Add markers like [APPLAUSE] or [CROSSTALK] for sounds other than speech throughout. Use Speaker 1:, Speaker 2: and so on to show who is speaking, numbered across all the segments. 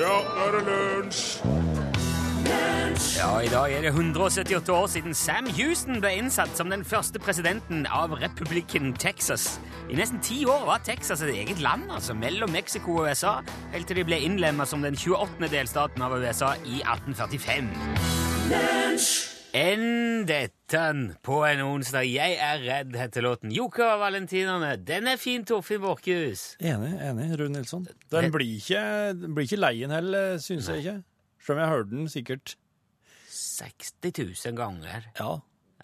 Speaker 1: Ja, nå er det lunsj!
Speaker 2: Ja, I dag er det 178 år siden Sam Houston ble innsatt som den første presidenten av republikken Texas. I nesten ti år var Texas et eget land, altså mellom Mexico og USA, helt til de ble innlemma som den 28. delstaten av USA i 1845. Enn dette på en onsdag. Jeg er redd, heter låten. Joker og Valentinerne. Den er fin, Torfinn Borchhus.
Speaker 3: Enig, enig, Rune Nilsson.
Speaker 2: Det-
Speaker 3: Den blir ikke, den blir ikke lei en heller, syns jeg ikke. Selv om jeg hørte den sikkert
Speaker 2: 60 000 ganger.
Speaker 3: Ja.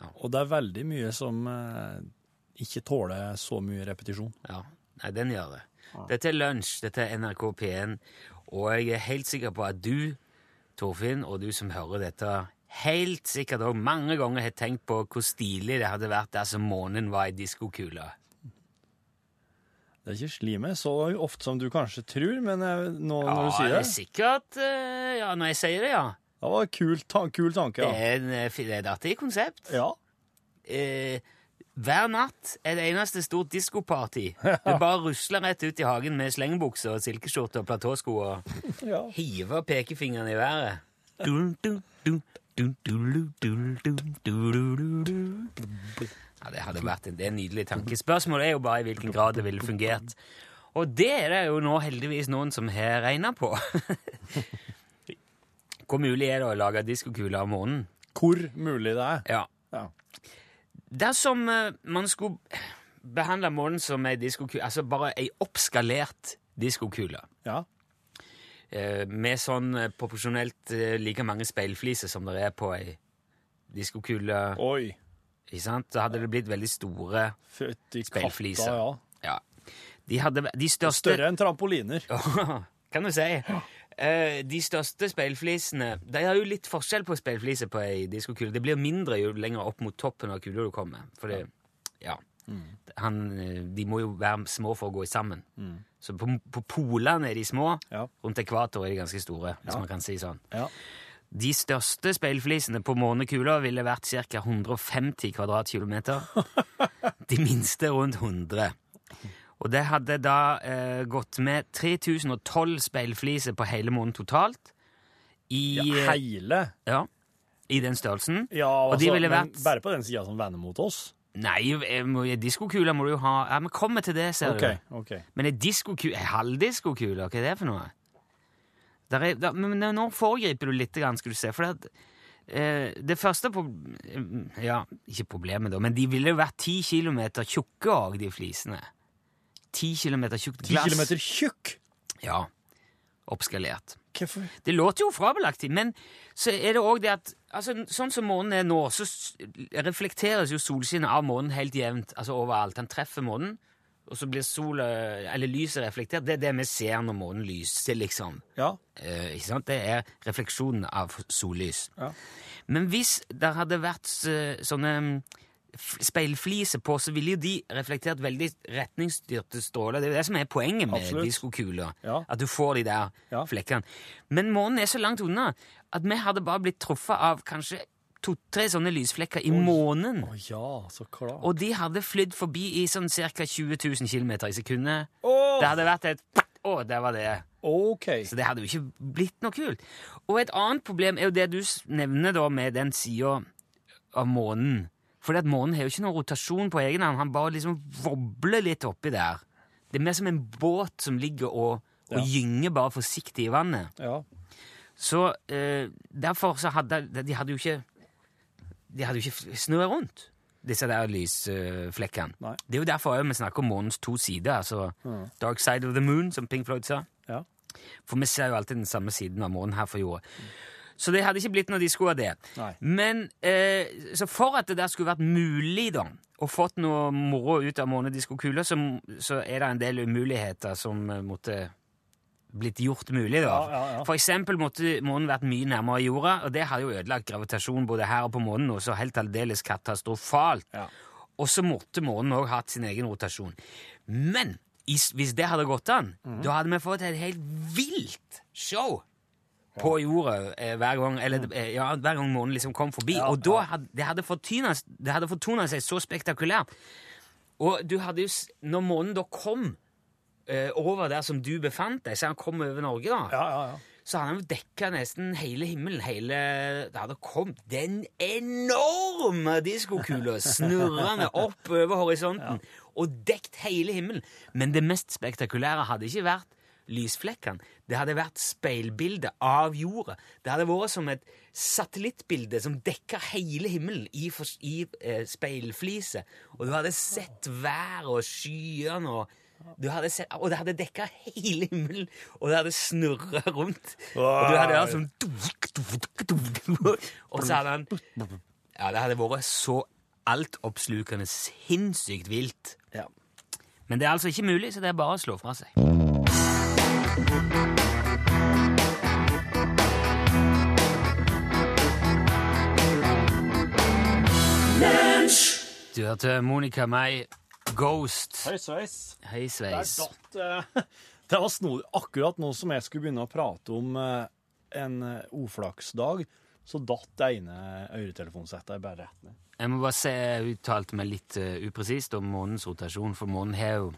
Speaker 2: Ja.
Speaker 3: Og det er veldig mye som eh, ikke tåler så mye repetisjon.
Speaker 2: Ja, nei, den gjør det. Dette er lunsj, dette er NRK P1, og jeg er helt sikker på at du, Torfinn, og du som hører dette, helt sikkert også mange ganger har tenkt på hvor stilig det hadde vært dersom månen var i diskokula.
Speaker 3: Det er ikke slimet så ofte som du kanskje tror, men eh, nå
Speaker 2: Ja,
Speaker 3: når du sier
Speaker 2: det
Speaker 3: det,
Speaker 2: er sikkert eh, Ja, når jeg sier det, ja.
Speaker 3: det var en kul, tan kul tanke.
Speaker 2: Det
Speaker 3: Ja.
Speaker 2: er, en, eh, fi- det er et artig konsept.
Speaker 3: ja.
Speaker 2: Eh, hver natt er det eneste stort diskoparty.
Speaker 3: [LAUGHS]
Speaker 2: Det bare rusler rett ut i hagen med slengebukser og silkeskjorte og platåsko og
Speaker 3: ja.
Speaker 2: hiver pekefingeren i været. Dun, dun, dun, dun, dulu, dulu, dun, dulu, dulu. Ja, det hadde vært en, det er en nydelig tanke. Spørsmålet er jo bare i hvilken grad det ville fungert. Og det er det jo nå heldigvis noen som har regna på. [LAUGHS] Hvor mulig er det å lage diskokuler om morgenen?
Speaker 3: Hvor mulig det er.
Speaker 2: Ja.
Speaker 3: Ja.
Speaker 2: Dersom eh, man skulle behandle månen som ei diskokule, altså bare ei oppskalert diskokule
Speaker 3: ja.
Speaker 2: eh, med sånn eh, proporsjonelt eh, like mange speilfliser som det er på ei diskokule.
Speaker 3: Oi.
Speaker 2: Ikke sant? Da hadde det blitt veldig store
Speaker 3: Fytti
Speaker 2: Speilflise.
Speaker 3: katta, ja.
Speaker 2: Ja. De, hadde, de største
Speaker 3: Større enn trampoliner.
Speaker 2: [LAUGHS] Kan du si. Eh, de største speilflisene De har jo litt forskjell på speilfliser på ei diskokule. Det blir mindre jo lenger opp mot toppen av kula du kommer. Fordi, ja Han, eh, De må jo være små for å gå sammen. Så på, på polene er de små.
Speaker 3: Ja.
Speaker 2: Rundt ekvator er de ganske store, hvis man kan si sånn.
Speaker 3: Ja.
Speaker 2: De største speilflisene på månekula ville vært ca. 150 kvadratkilometer. De minste rundt 100. Og det hadde da eh, gått med 3012 speilfliser på hele månen totalt. I, eh, ja,
Speaker 3: Hele.
Speaker 2: i den størrelsen.
Speaker 3: Ja,
Speaker 2: Og de
Speaker 3: altså,
Speaker 2: ville
Speaker 3: men
Speaker 2: vært-
Speaker 3: bare på den sida som vender mot oss.
Speaker 2: Nei, jeg må- diskokula må du jo ha Ja, Vi kommer til det, ser
Speaker 3: Ok,
Speaker 2: du.
Speaker 3: ok.
Speaker 2: Men ei diskokule Ei halvdiskokule, hva er det for noe? Der er, der, men men nå foregriper du litt, grann, skal du se. For det, at, eh, det første pro eh, Ja, ikke problemet, da, men de ville jo vært ti kilometer tjukke òg, de flisene. Ti kilometer tjukt
Speaker 3: Ti
Speaker 2: glass.
Speaker 3: kilometer tjukk!
Speaker 2: Ja. Oppskalert.
Speaker 3: Hvorfor?
Speaker 2: Det låter jo fabelaktig, men så er det òg det at altså, Sånn som månen er nå, så s- reflekteres jo solskinnet av månen helt jevnt altså overalt. Den treffer månen, og så blir sola, eller lyset reflektert. Det er det vi ser når månen lyser, liksom.
Speaker 3: Ja.
Speaker 2: Eh, ikke sant? Det er refleksjonen av sollys.
Speaker 3: Ja.
Speaker 2: Men hvis det hadde vært eh, sånne f- speilfliser på, så ville jo de reflektert veldig retningsstyrte stråler. Det er jo det som er poenget med
Speaker 3: Absolutt.
Speaker 2: diskokuler.
Speaker 3: Ja.
Speaker 2: At du får de der
Speaker 3: Ja.
Speaker 2: flekkene. Men månen er så langt unna at vi hadde bare blitt truffet av kanskje to-tre sånne lysflekker i månen.
Speaker 3: Å ja, så klart.
Speaker 2: Og de hadde flydd forbi i sånn ca. 20 000 km i sekundet.
Speaker 3: Åh,
Speaker 2: Det hadde vært et Å, der var det.
Speaker 3: ok.
Speaker 2: Så det hadde jo ikke blitt noe kult. Og et annet problem er jo det du s- nevner da med den sida av månen. Fordi at månen har jo ikke noen rotasjon på egen hånd, han bare liksom vobler litt oppi der. Det er mer som en båt som ligger og, og
Speaker 3: Ja.
Speaker 2: gynger bare forsiktig i vannet.
Speaker 3: Ja.
Speaker 2: Så eh, derfor så hadde de hadde jo ikke De hadde jo ikke snø rundt, disse der lysflekkene.
Speaker 3: Nei.
Speaker 2: det er jo derfor også vi snakker om månens to sider, altså Dark Side of the Moon, som Pink Floyd sa.
Speaker 3: Ja.
Speaker 2: For vi ser jo alltid den samme siden av månen her for jorda. Så det hadde ikke blitt noe disko av det.
Speaker 3: Nei.
Speaker 2: Men eh, Så for at det der skulle vært mulig, da, og fått noe moro ut av månediskokula, så, så er det en del umuligheter som eh, måtte blitt gjort mulig, da.
Speaker 3: Ja, ja, ja.
Speaker 2: For eksempel måtte månen vært mye nærmere jorda, og det har jo ødelagt gravitasjonen både her og på månen, og så helt aldeles katastrofalt.
Speaker 3: Ja.
Speaker 2: Og så måtte månen òg hatt sin egen rotasjon. Men i s- hvis det hadde gått an, da hadde vi fått et helt vilt show på jorda eh, hver gang, eller, eh, ja, hver gang månen liksom kom forbi. og da hadde det hadde fortynet- det hadde fortona seg så spektakulært. Og du hadde jo, s- når månen da kom eh, over der som du befant deg, så han kom over Norge, da,
Speaker 3: Ja, ja, ja.
Speaker 2: så hadde han jo dekka nesten hele himmelen. Hele, det hadde kommet den enorme diskokula snurrende opp over horisonten og dekt hele himmelen. Men det mest spektakulære hadde ikke vært lysflekkene. Det hadde vært speilbildet av jorda. Det hadde vært som et satellittbilde som dekka hele himmelen i, for, i eh, speilfliset. Og du hadde sett været og skyene og du hadde sett, og det hadde dekka hele himmelen, og det hadde snurra rundt. Og du hadde hørt sånn dunk, dunk, dunk, dunk. Og så hadde han Ja, det hadde vært så altoppslukende sinnssykt vilt.
Speaker 3: Ja.
Speaker 2: Men det er altså ikke mulig, så det er bare å slå fra seg. Du hørte Monica May, Ghost.
Speaker 3: Hei, sveis.
Speaker 2: Hei, sveis.
Speaker 3: Der datt, eh, [LAUGHS] det var snodig. Akkurat nå som jeg skulle begynne å prate om eh, en eh, oflaksdag, så datt det ene øretelefonsettet bare rett ned.
Speaker 2: Jeg må bare se, jeg uttalte meg litt eh, upresist om månens rotasjon, for månen har jo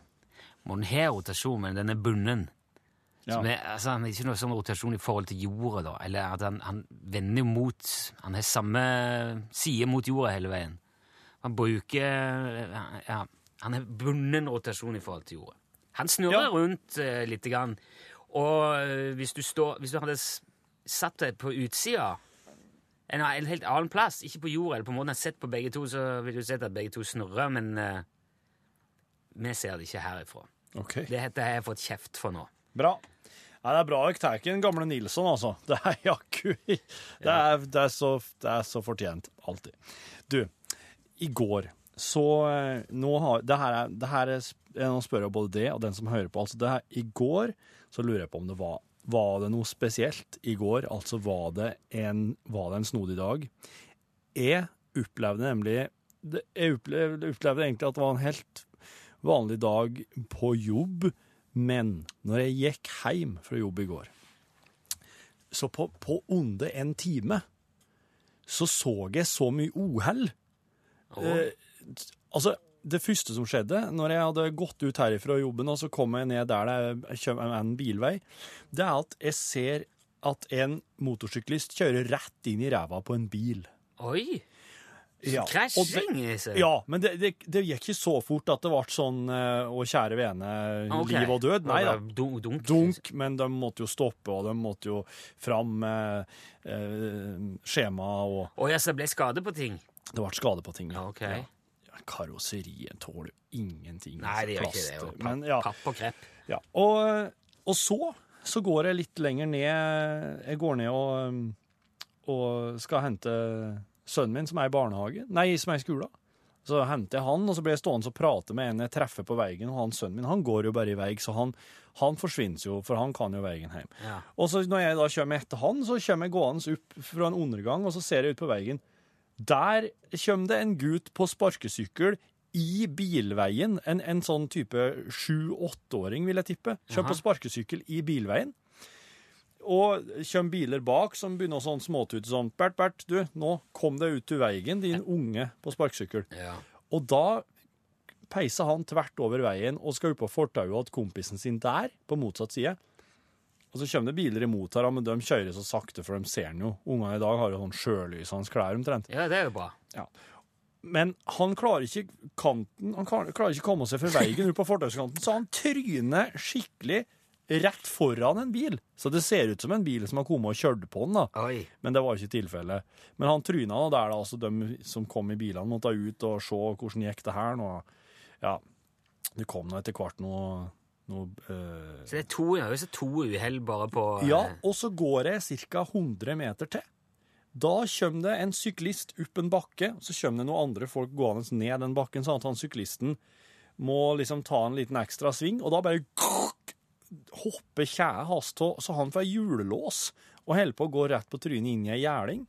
Speaker 2: Månen har rotasjon, men den er bunden.
Speaker 3: Ja.
Speaker 2: Så vi, altså, han har ikke noe sånn rotasjon i forhold til jorda, da. Eller at han, han vender jo mot Han har samme side mot jorda hele veien. Han bruker Ja, han har bunden rotasjon i forhold til jorda. Han snurrer
Speaker 3: Ja.
Speaker 2: rundt uh, lite grann. Og eh, hvis du står Hvis du hadde s- satt deg på utsida en, en helt annen plass, ikke på jorda eller på måten jeg har sett på begge to, så vil du sett at begge to snurrer, men eh, vi ser det ikke herifra.
Speaker 3: Ok.
Speaker 2: Det dette har jeg fått kjeft for nå.
Speaker 3: Bra. Nei, det er bra jeg tar ikke den gamle Nilsson, altså. [LAUGHS] Det er jakku. Det, er- det, er så- det er så fortjent, alltid. Du, i går så eh, nå har, det her er, det her er sp- eh, Nå spør jeg både det og den som hører på. altså det her, I går så lurer jeg på om det var Var det noe spesielt i går? Altså var det en, var det en snodig dag? Jeg opplevde nemlig det- Jeg opplevde, opplevde egentlig at det var en helt vanlig dag på jobb, men når jeg gikk hjem fra jobb i går, så på, på under en time så så jeg så mye uhell.
Speaker 2: Åh.
Speaker 3: Eh, altså, det første som skjedde, når jeg hadde gått ut herifra jobben, og så kom jeg ned der det er- kommer en bilvei, det er at jeg ser at en motorsyklist kjører rett inn i ræva på en bil.
Speaker 2: Oi!
Speaker 3: Ja, og det-
Speaker 2: Krasjing! Det,
Speaker 3: ja, men det, det, det gikk ikke så fort at det ble sånn eh, å kjære vene, liv og død. Nei da.
Speaker 2: Dunk, dunk.
Speaker 3: Dunk, men de måtte jo stoppe, og de måtte jo fram med eh, skjema, og
Speaker 2: Å ja, så det ble skade på ting?
Speaker 3: det ble skade på ting.
Speaker 2: Ja, ok.
Speaker 3: Ja, Karosseriet tåler jo ingenting.
Speaker 2: Nei, det gjør ikke
Speaker 3: Plast,
Speaker 2: det. Og papp,
Speaker 3: Men, ja,
Speaker 2: papp og krepp.
Speaker 3: ja. Og, og så, så går jeg litt lenger ned. Jeg går ned og, um, og skal hente sønnen min, som er i barnehage. Nei, som er i skolen. Så henter jeg han, og så blir jeg stående og prate med en jeg treffer på veien. Og han sønnen min han går jo bare i vei, så han, han forsvinner jo, for han kan jo veien hjem.
Speaker 2: Ja.
Speaker 3: Og så når jeg da kommer etter han, så kommer jeg gående opp fra en undergang, og så ser jeg ut på veien. Der kommer det en gutt på sparkesykkel i bilveien. En, en sånn type sju-åtteåring, vil jeg tippe. Kommer på sparkesykkel i bilveien. Og kommer biler bak som begynner å sånn småtute sånn Bert, Bert, du, nå kom deg ut til veien, din unge på sparkesykkel.
Speaker 2: Ja.
Speaker 3: Og da peiser han tvert over veien og skal opp på fortauet til kompisen sin der, på motsatt side. Og så kommer det biler imot her, men de kjører så sakte, for de ser den jo. Ungene i dag har jo sånn sjølysende klær omtrent.
Speaker 2: ja, det er jo bra.
Speaker 3: Men han klarer ikke kanten, han klarer, klarer ikke komme seg fra veien ut på fortauskanten, så han tryner skikkelig rett foran en bil. Så det ser ut som en bil som har kommet og kjørt på den, da.
Speaker 2: Oi.
Speaker 3: Men det var ikke tilfellet. Men han tryna, og der da, altså de som kom i bilene måtte ut og se hvordan gikk det her nå. Ja, det kom nå etter hvert noe... noe eh,
Speaker 2: Så det er to, ja, det er to uhell bare på eh,
Speaker 3: ja, og så går jeg ca. 100 meter til. Da kommer det en syklist opp en bakke, så kommer det noen andre folk gående ned den bakken, sånn at han syklisten må liksom ta en liten ekstra sving, og da bare krukk, hopper kjæa hans tå, så han får julelås, og holder på å gå rett på trynet inn i ei gjerding.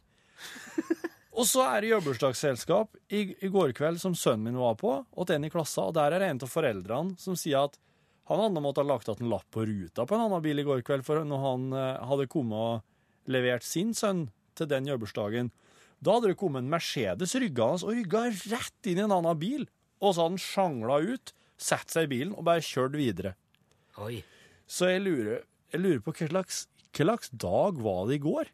Speaker 3: Og så er det jubileumsdagsselskap i, i går kveld som sønnen min var på, og den i klassa, og der er det en av foreldrene som sier at han hadde måttet ha lagt igjen en lapp på ruta på en annen bil i går kveld, for når han eh, hadde kommet og levert sin sønn til den jubileumsdagen, da hadde det kommet en Mercedes rygga hans og rygga rett inn i en annen bil, og så hadde han sjangla ut, satt seg i bilen og bare kjørt videre.
Speaker 2: Oi.
Speaker 3: Så jeg lurer, jeg lurer på hva slags Hvilken dag var det i går?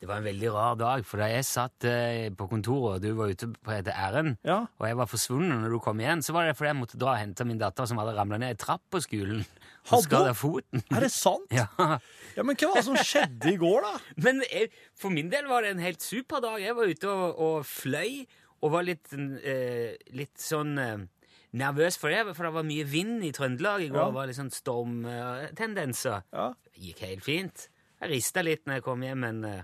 Speaker 2: Det var en veldig rar dag, for da jeg satt eh, på kontoret, og du var ute på et ærend,
Speaker 3: Ja.
Speaker 2: og jeg var forsvunnet når du kom igjen, så var det fordi jeg måtte dra og hente min datter som hadde ramla ned ei trapp på skolen
Speaker 3: Hadde hun?
Speaker 2: og skada foten. [LAUGHS]
Speaker 3: Er det sant?
Speaker 2: Ja.
Speaker 3: Ja, Men hva var det som skjedde i går, da?
Speaker 2: Men jeg, for min del var det en helt super dag. Jeg var ute og, og fløy, og var litt, eh, litt sånn eh, nervøs for det, for det var mye vind i Trøndelag i går.
Speaker 3: Ja.
Speaker 2: Det var litt sånn stormtendenser.
Speaker 3: Ja.
Speaker 2: Det gikk helt fint. Jeg rista litt når jeg kom hjem, men eh,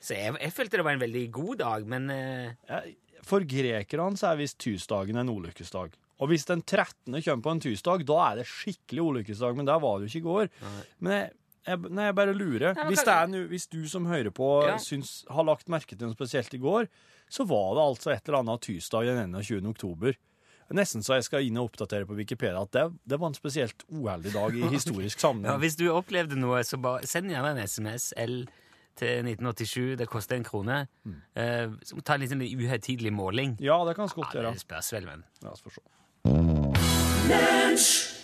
Speaker 2: Så jeg, jeg følte det var en veldig god dag, men eh,
Speaker 3: Ja, For grekerne så er visst tirsdagen en ulykkesdag. Og hvis den 13. kommer på en tirsdag, da er det skikkelig ulykkesdag, men der var det jo ikke i går. Men jeg, jeg, nei, jeg bare lurer.
Speaker 2: men
Speaker 3: hvis,
Speaker 2: kan-
Speaker 3: det er, nu- hvis du som hører på
Speaker 2: Ja.
Speaker 3: syns, har lagt merke til noe spesielt i går, så var det altså et eller annet tirsdag den 21. oktober. Nesten så jeg skal inn og oppdatere på Wikipedia at det, det var en spesielt uheldig dag
Speaker 2: [LAUGHS]
Speaker 3: i historisk
Speaker 2: ja,
Speaker 3: sammenheng.
Speaker 2: hvis du opplevde noe, så bare send gjerne en SMS L til 1987. Det koster en krone. Eh, så må ta en liten uhøytidelig måling.
Speaker 3: Ja, det kan vi godt
Speaker 2: Ja,
Speaker 3: gjøre.
Speaker 2: det spørs vel, men
Speaker 3: La oss få se.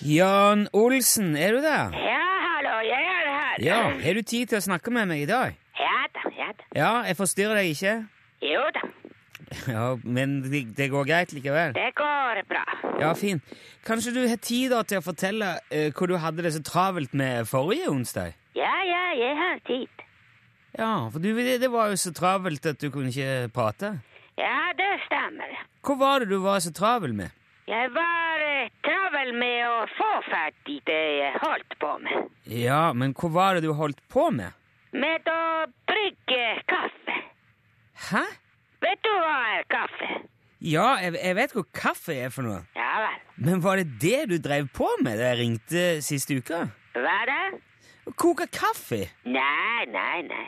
Speaker 2: Jan Olsen, er du der?
Speaker 4: Ja, hallo, jeg er her.
Speaker 2: Ja, Har du tid til å snakke med meg i dag?
Speaker 4: Ja da, ja da.
Speaker 2: Ja, jeg forstyrrer deg ikke? [LAUGHS]
Speaker 4: Jo da,
Speaker 2: Ja, Men det, det går greit likevel?
Speaker 4: det går bra.
Speaker 2: Ja, fint. Kanskje du har tid da til å fortelle eh, hvor du hadde det så travelt med forrige onsdag?
Speaker 4: Ja, ja, jeg har tid.
Speaker 2: Ja, for du, det, det var jo så travelt at du kunne ikke prate.
Speaker 4: Ja, det stemmer.
Speaker 2: Hva var det du var så travel med?
Speaker 4: Jeg var eh, travel med å få ferdig det jeg holdt på med.
Speaker 2: Ja, men hva var det du holdt på med?
Speaker 4: Med å brygge kaffe.
Speaker 2: Hæ?
Speaker 4: Vet du hva er kaffe?
Speaker 2: Ja, jeg, jeg vet hva kaffe er for noe.
Speaker 4: Ja vel.
Speaker 2: Men var det det du drev på med da jeg ringte siste uka?
Speaker 4: Hva da?
Speaker 2: Å koke kaffe?
Speaker 4: Nei, nei, nei.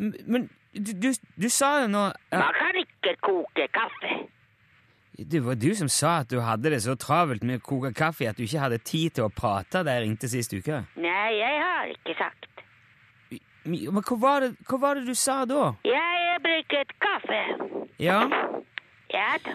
Speaker 2: M- Men du, du, du sa jo nå ja,
Speaker 4: Man kan ikke koke kaffe.
Speaker 2: Det var du som sa at du hadde det så travelt med å koke kaffe at du ikke hadde tid til å prate da jeg ringte sist uke.
Speaker 4: Nei, jeg har ikke sagt.
Speaker 2: Men hva var det, hva var det du sa da?
Speaker 4: Jeg brygget kaffe.
Speaker 2: Ja?
Speaker 4: Ja da.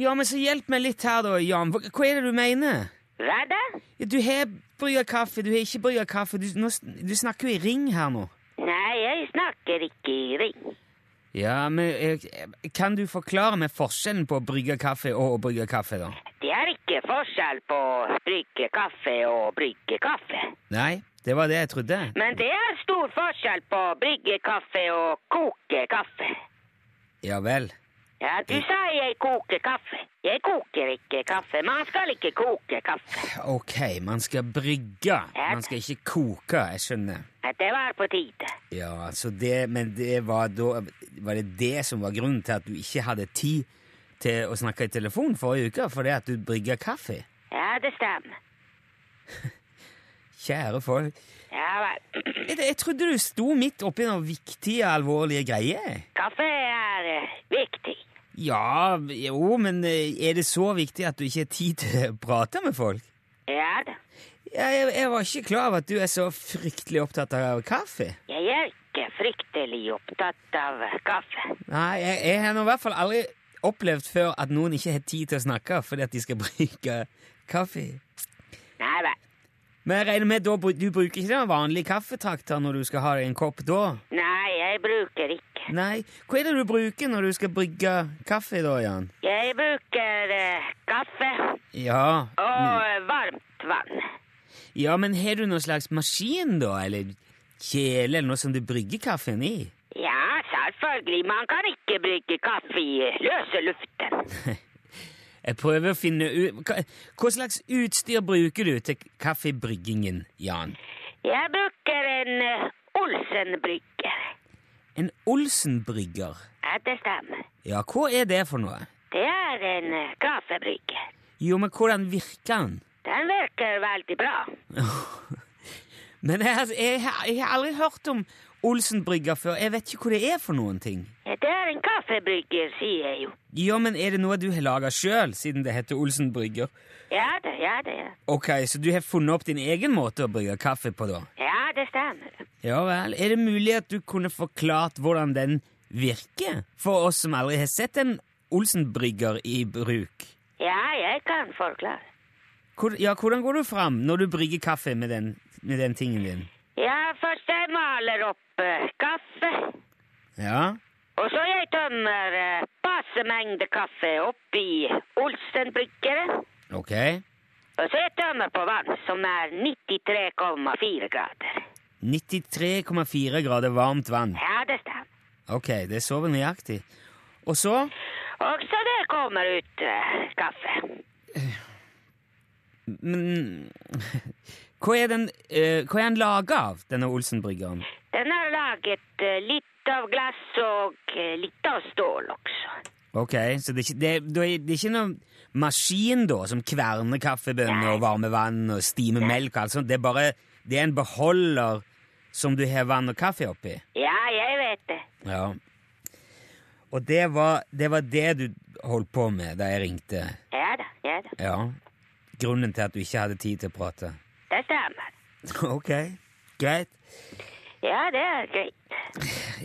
Speaker 2: ja, men så hjelp meg litt her da, Jan. Hva, hva er det du mener?
Speaker 4: Hva da?
Speaker 2: Ja, Du har brygga kaffe, du har ikke brygga kaffe. Du, nå, sn- du snakker jo i ring her nå.
Speaker 4: Nei, jeg snakker ikke i ring.
Speaker 2: Ja, men eh, Kan du forklare meg forskjellen på å brygge kaffe og å brygge kaffe, da?
Speaker 4: Det er ikke forskjell på å brygge kaffe og brygge kaffe.
Speaker 2: Nei, det var det jeg trodde.
Speaker 4: Men det er stor forskjell på å brygge kaffe og koke kaffe.
Speaker 2: Ja vel.
Speaker 4: Ja, du sa jeg koker kaffe. Jeg koker ikke kaffe. Man skal ikke koke kaffe.
Speaker 2: Ok, man skal brygge. Man skal ikke koke, jeg skjønner.
Speaker 4: Ja, Det var på tide.
Speaker 2: Ja, så det, Men det var da Var det det som var grunnen til at du ikke hadde tid til å snakke i telefon forrige uke? Fordi at du brygga kaffe?
Speaker 4: Ja, det stemmer.
Speaker 2: Kjære folk.
Speaker 4: Ja vel.
Speaker 2: Jeg, jeg trodde du sto midt oppi noen viktige, alvorlige greier.
Speaker 4: Kaffe er eh, viktig.
Speaker 2: Ja, jo, men eh, er det så viktig at du ikke har tid til å prate med folk?
Speaker 4: Ja da.
Speaker 2: Jeg, jeg, jeg var ikke klar over at du er så fryktelig opptatt av kaffe.
Speaker 4: Jeg er ikke fryktelig opptatt av kaffe.
Speaker 2: Nei, jeg, jeg har nå i hvert fall aldri opplevd før at noen ikke har tid til å snakke fordi at de skal [LAUGHS] bruke kaffe.
Speaker 4: Nei vel.
Speaker 2: Men jeg regner med da, bru- du bruker ikke den vanlige kaffetrakter når du skal ha deg en kopp da?
Speaker 4: Nei, jeg bruker ikke.
Speaker 2: Nei. Hva er det du bruker når du skal brygge kaffe da, Jan?
Speaker 4: Jeg bruker eh, kaffe
Speaker 2: Ja,
Speaker 4: og eh, varmt vann.
Speaker 2: ja men har du noen slags maskin da, eller kjele eller noe som du brygger kaffen i?
Speaker 4: Ja, selvfølgelig. Man kan ikke bruke kaffe i eh, løse luften.
Speaker 2: Jeg prøver å finne ut hva, hva slags utstyr bruker du til kaffebryggingen, Jan?
Speaker 4: Jeg bruker en eh, Olsen-brygger.
Speaker 2: En Olsen-brygger.
Speaker 4: Ja, det stemmer.
Speaker 2: Ja, hva er det for noe?
Speaker 4: Det er en eh, kaffebrygger.
Speaker 2: Jo, men hvordan virker den?
Speaker 4: Den virker veldig bra.
Speaker 2: Men jeg, har- jeg, har- jeg har aldri hørt om Olsen-brygger før. Jeg vet ikke hva det er for noen ting.
Speaker 4: Ja, Det er en kaffebrygger, sier jeg jo.
Speaker 2: Ja, men er det noe du har laga sjøl, siden det heter Olsen-brygger?
Speaker 4: Ja da, ja da, ja.
Speaker 2: Ok, så du har funnet opp din egen måte å brygge kaffe på, da?
Speaker 4: Ja, det stemmer.
Speaker 2: Ja vel. Er det mulig at du kunne forklart hvordan den virker? For oss som aldri har sett en Olsen-brygger i bruk.
Speaker 4: Ja, jeg kan forklare.
Speaker 2: Hvor, ja, hvordan går du fram når du brygger kaffe med den, med den tingen din?
Speaker 4: Ja, først jeg maler opp eh, kaffe,
Speaker 2: Ja.
Speaker 4: og så jeg tømmer eh, passe mengde kaffe oppi Olsen-bryggeren.
Speaker 2: Ok.
Speaker 4: Og så jeg tømmer på vann, som er 93,4 grader.
Speaker 2: 93,4 grader varmt vann.
Speaker 4: Ja, det stemmer.
Speaker 2: Ok, det er så vel nøyaktig. Og så
Speaker 4: Og så der kommer ut eh, kaffe.
Speaker 2: Men mm, [LAUGHS] hva er den, eh, hva er den laga av, denne Olsen-bryggeren?
Speaker 4: Den er laget eh, litt av glass og eh, litt av stål også.
Speaker 2: Ok, så det er, ikke, det, er- da er- det er ikke noen maskin da, som kverner kaffebønner og varmer vann og stimer melk og alt sånt. Det er bare det er en beholder som du har vann og kaffe oppi.
Speaker 4: Ja, jeg vet det.
Speaker 2: Ja. Og det var, det var det du holdt på med da jeg ringte.
Speaker 4: Ja da, ja da.
Speaker 2: Ja. Grunnen til at du ikke hadde tid til å prate.
Speaker 4: Det stemmer.
Speaker 2: [LAUGHS] Ok, greit.
Speaker 4: Ja, det er greit.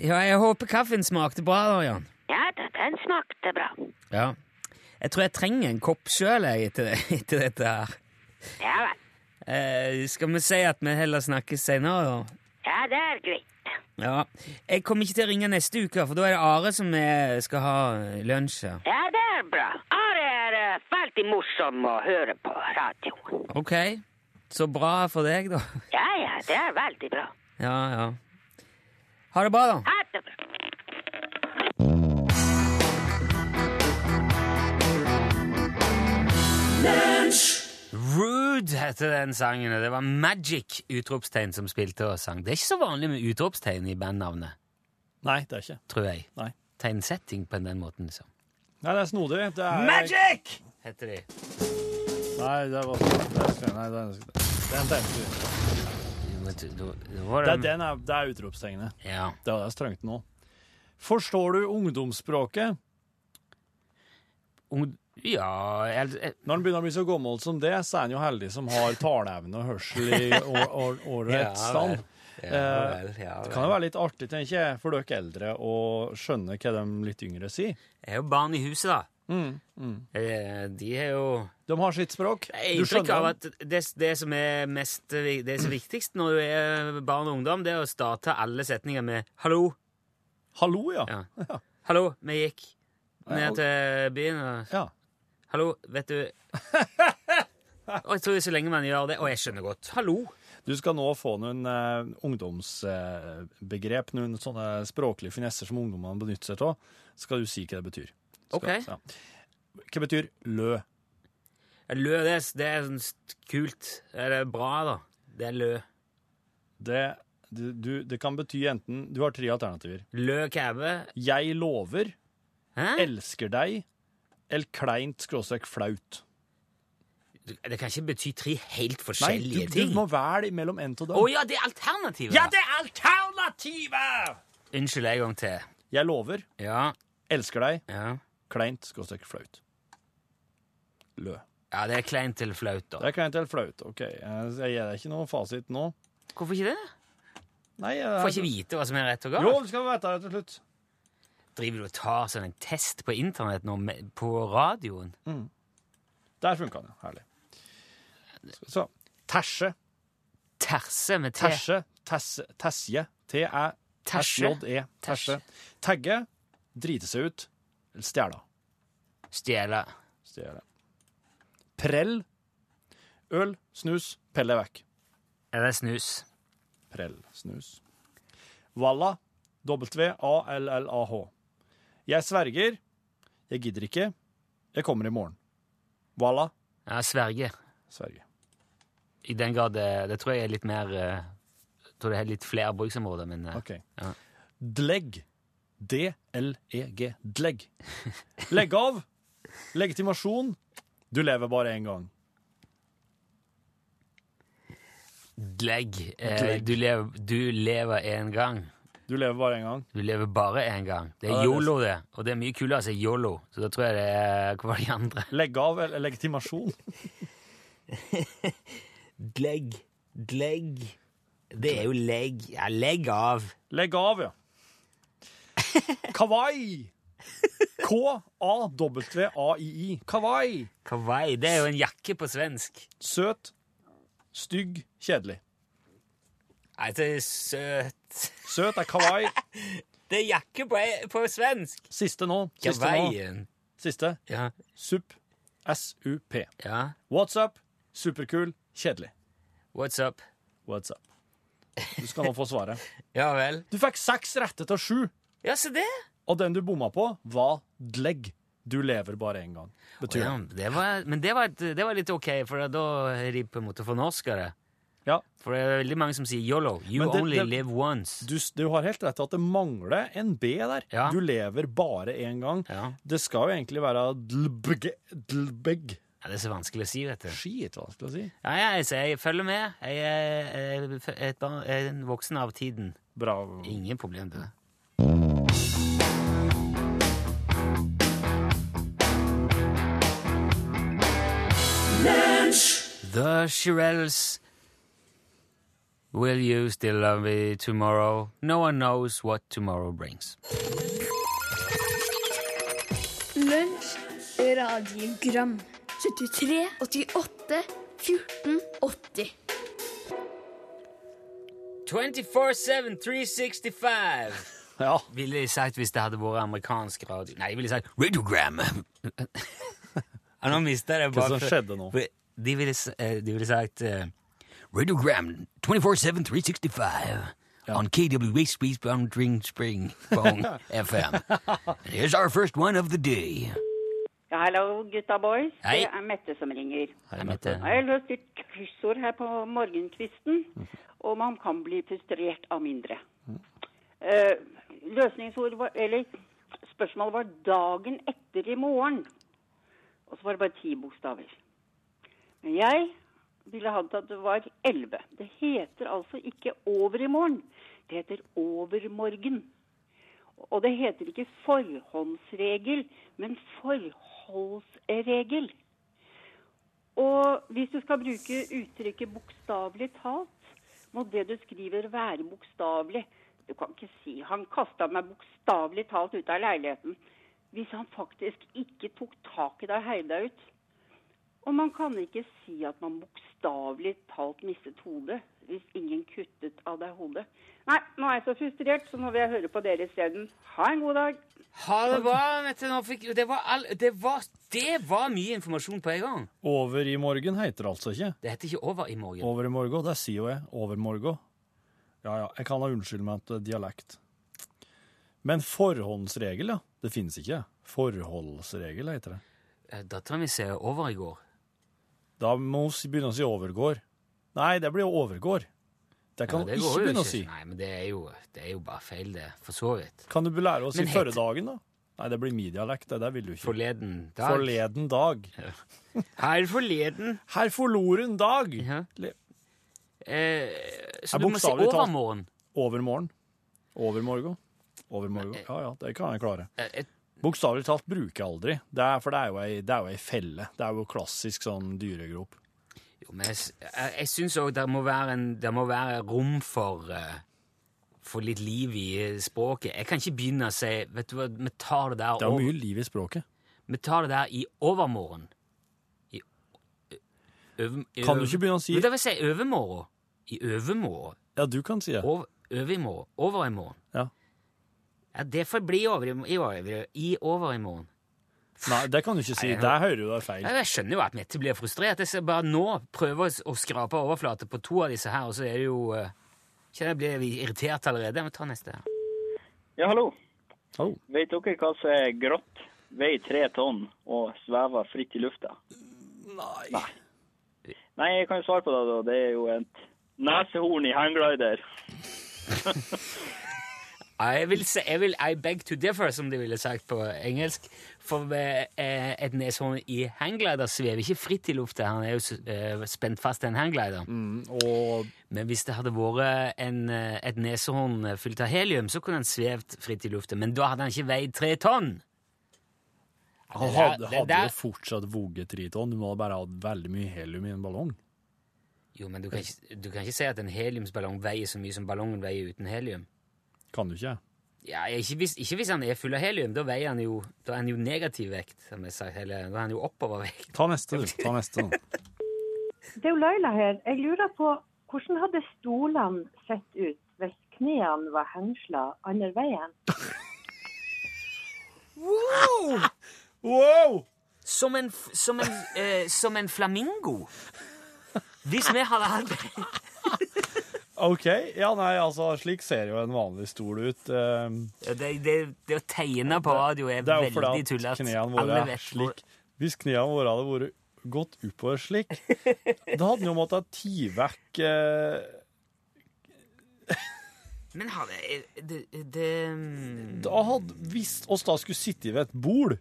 Speaker 2: Ja, jeg håper kaffen smakte bra da, Jan.
Speaker 4: Ja da, den smakte bra.
Speaker 2: Ja. Jeg tror jeg trenger en kopp sjøl etter, [LAUGHS] etter dette her.
Speaker 4: Ja vel.
Speaker 2: Eh, skal vi si at vi heller snakkes seinere, da?
Speaker 4: Ja, det er greit.
Speaker 2: Ja. Jeg kommer ikke til å ringe neste uke, for da er det Are som er, skal ha lunsj her.
Speaker 4: Ja, det er bra. Are er eh, veldig morsom å høre på radioen.
Speaker 2: Ok. Så bra for deg, da.
Speaker 4: Ja, ja, det er veldig bra.
Speaker 2: Ja, ja. Ha det bra, da.
Speaker 4: Ha det bra.
Speaker 2: Rude heter den sangen, og det var Magic utropstegn som spilte og sang. Det er ikke så vanlig med utropstegn i bandnavnet,
Speaker 3: Nei, det er ikke.
Speaker 2: tror jeg.
Speaker 3: Nei.
Speaker 2: Tegnsetting på den måten, liksom.
Speaker 3: Nei, det er snodig. Det er
Speaker 2: Magic! Heter de.
Speaker 3: Nei, det var det er, nei, det er, den tenkte vi.
Speaker 2: Du vet, du- du var
Speaker 3: Det
Speaker 2: den-
Speaker 3: er, den er, det er utropstegnet.
Speaker 2: Ja.
Speaker 3: Det hadde jeg strengt nå. Forstår du ungdomsspråket?
Speaker 2: Ung- Ja el- el-
Speaker 3: Når han begynner å bli så gammel som det, så er han jo heldig som har taleevne og hørsel i å- å- [LAUGHS] årets
Speaker 2: Ja, vel.
Speaker 3: stand.
Speaker 2: ja,
Speaker 3: Eh,
Speaker 2: vel, ja, vel.
Speaker 3: Det kan jo være litt artig, tenker jeg, for dere eldre å skjønne hva de litt yngre sier.
Speaker 2: Jeg er jo barn i huset, da.
Speaker 3: Mm, mm.
Speaker 2: Eh, De er jo
Speaker 3: De har sitt språk.
Speaker 2: Jeg har
Speaker 3: Du
Speaker 2: inntrykk av
Speaker 3: skjønner dem.
Speaker 2: at det, det som er mest, det som er viktigst når du er barn og ungdom, det er å starte alle setninger med 'hallo'.
Speaker 3: Hallo, ja.
Speaker 2: Ja.
Speaker 3: Ja.
Speaker 2: 'Hallo, vi gikk
Speaker 3: Ja,
Speaker 2: ned
Speaker 3: og-
Speaker 2: til byen', og
Speaker 3: ja.
Speaker 2: 'hallo, vet
Speaker 3: [LAUGHS]
Speaker 2: du' Og jeg tror så lenge man gjør det Og jeg skjønner godt. 'Hallo'.
Speaker 3: Du skal nå få noen eh, ungdomsbegrep, noen sånne språklige finesser som ungdommene benytter seg av. Skal du si hva det betyr. Skal,
Speaker 2: Ok.
Speaker 3: ja. Hva betyr lø?
Speaker 2: Lø, det er, det er sånn st- kult. Det er bra, da. Det er lø.
Speaker 3: Det, du, du, det kan bety enten Du har tre alternativer.
Speaker 2: Lø kæve.
Speaker 3: Jeg lover,
Speaker 2: Hæ?
Speaker 3: elsker deg, eller kleint skråstrek flaut.
Speaker 2: Det kan ikke bety tre helt
Speaker 3: Nei, du,
Speaker 2: forskjellige
Speaker 3: du
Speaker 2: ting.
Speaker 3: må
Speaker 2: Å
Speaker 3: velge mellom en av dem.
Speaker 2: ja, det er alternativet!
Speaker 3: Ja, det er alternativet!
Speaker 2: Unnskyld en gang til.
Speaker 3: Jeg lover,
Speaker 2: Ja,
Speaker 3: elsker deg,
Speaker 2: ja.
Speaker 3: kleint, skråstrek flaut. Lø.
Speaker 2: Ja, det er kleint eller flaut,
Speaker 3: Det
Speaker 2: da.
Speaker 3: er kleint eller flaut. Ok, jeg jeg gir deg ikke noe fasit nå.
Speaker 2: Hvorfor ikke det?
Speaker 3: Nei, jeg,
Speaker 2: Får ikke vite hva som er rett og
Speaker 3: Jo,
Speaker 2: galt.
Speaker 3: du skal vite det til slutt.
Speaker 2: Driver du og tar sånn en test på internett nå, med- på radioen?
Speaker 3: Der funka den, ja. herlig. Så, terse,
Speaker 2: Terse med T.
Speaker 3: terse, tesse, tesje, t-e,
Speaker 2: Terse.
Speaker 3: s-j-e, terse. Tagge, drite seg ut, eller stjæla.
Speaker 2: Stjele.
Speaker 3: Stjæle. Prell, øl, snus, pelle vekk.
Speaker 2: Eller snus.
Speaker 3: Prell, snus. Valla, w-a-l-l-a-h. Jeg sverger, jeg gidder ikke, jeg kommer i morgen. Valla,
Speaker 2: Ja, sverge.
Speaker 3: sverger.
Speaker 2: I den grad det, det tror jeg er litt mer eh, Jeg tror det er litt flere bruksområder, men eh,
Speaker 3: Ok.
Speaker 2: Ja.
Speaker 3: Dlegg. D-L-E-G. Dlegg. Legg av. Legitimasjon. Du lever bare én gang.
Speaker 2: Dlegg. Eh,
Speaker 3: Dlegg.
Speaker 2: Du, lever, du lever en gang.
Speaker 3: Du lever bare én gang.
Speaker 2: Du lever bare en gang. Det
Speaker 3: Ja,
Speaker 2: er
Speaker 3: det er
Speaker 2: yolo, det. Og det er mye kulere å si yolo, så da tror jeg det er Hva var de andre?
Speaker 3: Legg av eller legitimasjon.
Speaker 2: Dlegg. Dlegg. Det er jo legg. Ja, legg av.
Speaker 3: Legg av, ja. Kawaii. K-a-w-a-i-i. Kawaii.
Speaker 2: Kawaii, det er jo en jakke på svensk.
Speaker 3: Søt. Stygg. Kjedelig.
Speaker 2: Nei, det er søt.
Speaker 3: Søt er kawaii.
Speaker 2: Det er jakke på, på svensk.
Speaker 3: Siste nå. Siste nå.
Speaker 2: Kawaien.
Speaker 3: Siste.
Speaker 2: Ja,
Speaker 3: Sup. S-U-P.
Speaker 2: ja.
Speaker 3: What's up? Superkul. Kjedelig.
Speaker 2: What's up?
Speaker 3: What's up? Du skal nå få svaret.
Speaker 2: Ja vel.
Speaker 3: Du fikk seks rette av sju,
Speaker 2: Ja, se det.
Speaker 3: og den du bomma på, var dlegg. Du lever bare én gang. Betyr
Speaker 2: Ja,
Speaker 3: det.
Speaker 2: det var, men det var, et, det var litt ok, for da er de på en måte fornorska det.
Speaker 3: Ja.
Speaker 2: For det er veldig mange som sier YOLO. You
Speaker 3: Men det-
Speaker 2: only
Speaker 3: det-
Speaker 2: live once.
Speaker 3: Du, du har helt rett i at det mangler en B der.
Speaker 2: Ja.
Speaker 3: Du lever bare én gang.
Speaker 2: Ja.
Speaker 3: Det skal jo egentlig være dlbg. dlbg.
Speaker 2: ja, Det er så vanskelig å si, vet du.
Speaker 3: Skit, vanskelig å si.
Speaker 2: Ja, ja, jeg, sier, jeg følger med. Jeg er, eh, f- et barn, jeg er en voksen av tiden.
Speaker 3: Bra.
Speaker 2: Ingen problem til det. The Shirelles Will you still love me tomorrow? No one knows what tomorrow brings.
Speaker 5: Lunsj, radiogram 73, 88, 14, 80
Speaker 2: 24-7, 365!
Speaker 3: Ja.
Speaker 2: Ville jeg sagt hvis det hadde vært amerikansk radio Nei, jeg ville sagt radiogram! ja, nå mista jeg det.
Speaker 3: Hva som skjedde nå?
Speaker 2: De ville, s- eh, de ville sagt eh, Radiogram 24-7 365 on KWA Space Bound Ring Spring
Speaker 3: [LAUGHS]
Speaker 2: Phone FM. And Here's our first one of the day.
Speaker 6: Ja, hallo, gutta boys.
Speaker 2: Hei.
Speaker 6: Det er Mette som ringer.
Speaker 2: Jeg møtte-
Speaker 6: Jeg har løst et kryssord her på morgenkvisten, og man kan bli frustrert av mindre. Eh, løsningsord var, eller spørsmålet var dagen etter i morgen. Og så var det bare ti bokstaver. Men jeg ville ha det at det var elleve. Det heter altså ikke over i morgen. Det heter overmorgen. Og det heter ikke forhåndsregel, men forholdsregel. Og hvis du skal bruke uttrykket bokstavelig talt, må det du skriver være bokstavelig. Du kan ikke si 'han kasta meg bokstavelig talt ut av leiligheten' hvis han faktisk ikke tok tak i deg og heiv deg ut. Og man kan ikke si at man bokstavelig talt mistet hodet hvis ingen kuttet av deg hodet. Nei, nå er jeg så frustrert, så nå vil jeg høre på dere isteden. Ha en god dag.
Speaker 2: Ha det bra, Mette. Nå fikk, det, var all, det, var, det var mye informasjon på en gang.
Speaker 3: Over i morgen heter det altså ikke.
Speaker 2: Det heter ikke over i morgen.
Speaker 3: Over i morgen, det sier jo jeg. Over morgen. Ja, ja, jeg kan ha unnskyldt meg at det er dialekt. Men forhåndsregel, ja. Det finnes ikke. Forholdsregel heter det.
Speaker 2: Eh, Dattera mi sier over i går.
Speaker 3: Da må vi begynne å si overgår. Nei, det blir jo overgår. Det kan
Speaker 2: Ja,
Speaker 3: du
Speaker 2: det går
Speaker 3: ikke
Speaker 2: jo
Speaker 3: begynne å si.
Speaker 2: Nei, men det er, jo, det er jo bare feil, det. For så vidt.
Speaker 3: Kan du lære å si
Speaker 2: Men het-
Speaker 3: førre dagen, da? Nei, det blir midialekt, det der vil du ikke.
Speaker 2: Forleden dag.
Speaker 3: Forleden dag.
Speaker 2: Her forleden.
Speaker 3: Herr forloren dag!
Speaker 2: Ja.
Speaker 3: Le-
Speaker 2: Eh, så
Speaker 3: Er
Speaker 2: du må si
Speaker 3: bokstavelig talt-
Speaker 2: overmorgen.
Speaker 3: Overmorgen. Overmorgen. Overmorgen. Ja, ja, det kan jeg klare.
Speaker 2: Eh, et-
Speaker 3: Bokstavelig talt bruker jeg aldri, det er, for det er, jo ei, det er jo ei felle. Det er jo klassisk sånn dyregrop.
Speaker 2: jo, men jeg, s- jeg, jeg syns òg det, må være en- det må være rom for eh, for litt liv i eh, språket. Jeg kan ikke begynne å si Vet du hva, vi tar det der,
Speaker 3: Det er jo
Speaker 2: over,
Speaker 3: mye liv i språket.
Speaker 2: vi tar det der i overmorgen. I, ø- øv- i
Speaker 3: Kan du
Speaker 2: øv-
Speaker 3: ikke begynne å si
Speaker 2: Men Det vil si overmorgen. I overmorgen.
Speaker 3: Ja, du kan si det.
Speaker 2: Over, overimorgen. Overimorgen.
Speaker 3: Ja.
Speaker 2: Ja, det får bli over i, i, over, i over i morgen.
Speaker 3: Nei, det kan du ikke si.
Speaker 2: Nei, jeg-
Speaker 3: Der hører du det er feil.
Speaker 2: Ja, Jeg skjønner jo at Mette blir frustrert. Jeg skal bare nå prøve å s- å skrape overflate på to av disse her, og så er det jo eh, Kjenner jeg blir irritert allerede. Jeg må ta neste. her.
Speaker 7: Ja, hallo.
Speaker 3: Hallo.
Speaker 7: Vet dere hva som er grått, veier tre tonn og svever fritt i lufta?
Speaker 3: Nei.
Speaker 7: Nei, jeg kan jo svare på det, da. Det er jo et nesehorn i hangglider.
Speaker 2: Jeg vil si jeg vil, I beg to differ, som de ville sagt på engelsk. For eh, eh, et neshorn i hangglider svever ikke fritt i lufta. Han er jo s- eh, spent fast i en hangglider.
Speaker 3: Og
Speaker 2: Men hvis det hadde vært en, eh, et nesehorn eh, fylt av helium, så kunne han svevd fritt i lufta. Men da hadde han ikke veid tre tonn!
Speaker 3: han
Speaker 2: Det der-
Speaker 3: hadde,
Speaker 2: det
Speaker 3: hadde
Speaker 2: der-
Speaker 3: jo fortsatt voget triton. Du må ha bare hatt veldig mye helium i en ballong.
Speaker 2: Jo, men du kan, ikke, du kan ikke si at en heliumsballong veier så mye som ballongen veier uten helium.
Speaker 3: Kan du ikke?
Speaker 2: Ja, ikke hvis, ikke hvis han er full av helium. Da, veier han jo, da er han jo negativ vekt. Som jeg sa, eller, da er han jo
Speaker 8: [LAUGHS]
Speaker 2: oppovervekt.
Speaker 3: Ta neste, du. Ta neste. nå.
Speaker 8: Det er jo Laila her. Jeg lurer på Hvordan hadde stolene sett ut hvis knærne var hengsla andre veien?
Speaker 3: [LAUGHS] Wow!
Speaker 2: Som en, f- som en, eh, som en flamingo. Hvis vi hadde hatt
Speaker 3: OK. Ja, nei, altså, slik ser jo en vanlig stol ut. Ehm,
Speaker 2: Det, det, det å tegne på radio er,
Speaker 3: Det er jo
Speaker 2: veldig
Speaker 3: fordi at
Speaker 2: tullete.
Speaker 3: knærne våre
Speaker 2: Alle
Speaker 3: er
Speaker 2: vet hvor-
Speaker 3: slik. Hvis knærne våre hadde vært gått oppover slik, da hadde en jo måttet tie vekk eh,
Speaker 2: Men har det, eh, det, mm, det
Speaker 3: da hadde, Hvis oss da skulle sitte ved et bord,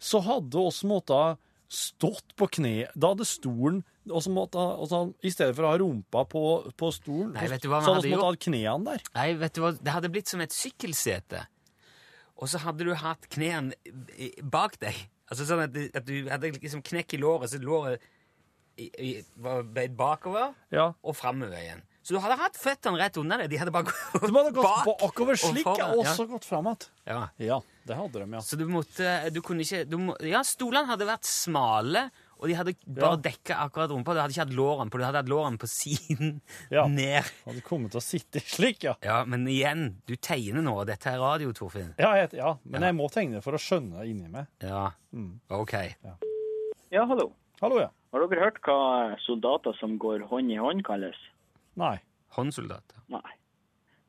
Speaker 3: så hadde oss måttet stått på kne. Da hadde stolen oss måtte, ha- oss hadde, I stedet for å ha rumpa på, på stolen,
Speaker 2: Nei, vet du hva vi
Speaker 3: så hadde
Speaker 2: hadde
Speaker 3: vi måttet ha knærne der.
Speaker 2: Nei, vet du hva, det hadde blitt som et sykkelsete. Og så hadde du hatt knærne i- bak deg. Altså sånn at, du- at du hadde liksom knekk i låret, så låret i, i, var bøyd bakover
Speaker 3: Ja.
Speaker 2: og framover igjen. Så du hadde hatt føttene rett under deg. De hadde bare gått
Speaker 3: De hadde gått
Speaker 2: bak
Speaker 3: bakover slik,
Speaker 2: og
Speaker 3: og,
Speaker 2: foran, ja.
Speaker 3: så gått fram igjen.
Speaker 2: Ja.
Speaker 3: Ja, det hadde de, ja.
Speaker 2: Så du måtte Du kunne ikke du må, Ja, stolene hadde vært smale, og de hadde bare
Speaker 3: Ja.
Speaker 2: dekka akkurat rumpa. Du hadde ikke hatt lårene på, du hadde hatt lårene på siden
Speaker 3: Ja.
Speaker 2: ned.
Speaker 3: Hadde kommet til å sitte [LAUGHS] slik, ja.
Speaker 2: Ja, men igjen, du tegner nå, og dette er radio, Torfinn.
Speaker 3: Ja, jeg, ja, men jeg må tegne for å skjønne det inni meg.
Speaker 2: Ja, ok.
Speaker 7: Ja, hallo.
Speaker 3: Hallo, ja.
Speaker 7: Har dere hørt hva soldater som går hånd i hånd kalles?
Speaker 3: Nei.
Speaker 2: Håndsoldater.
Speaker 7: Nei.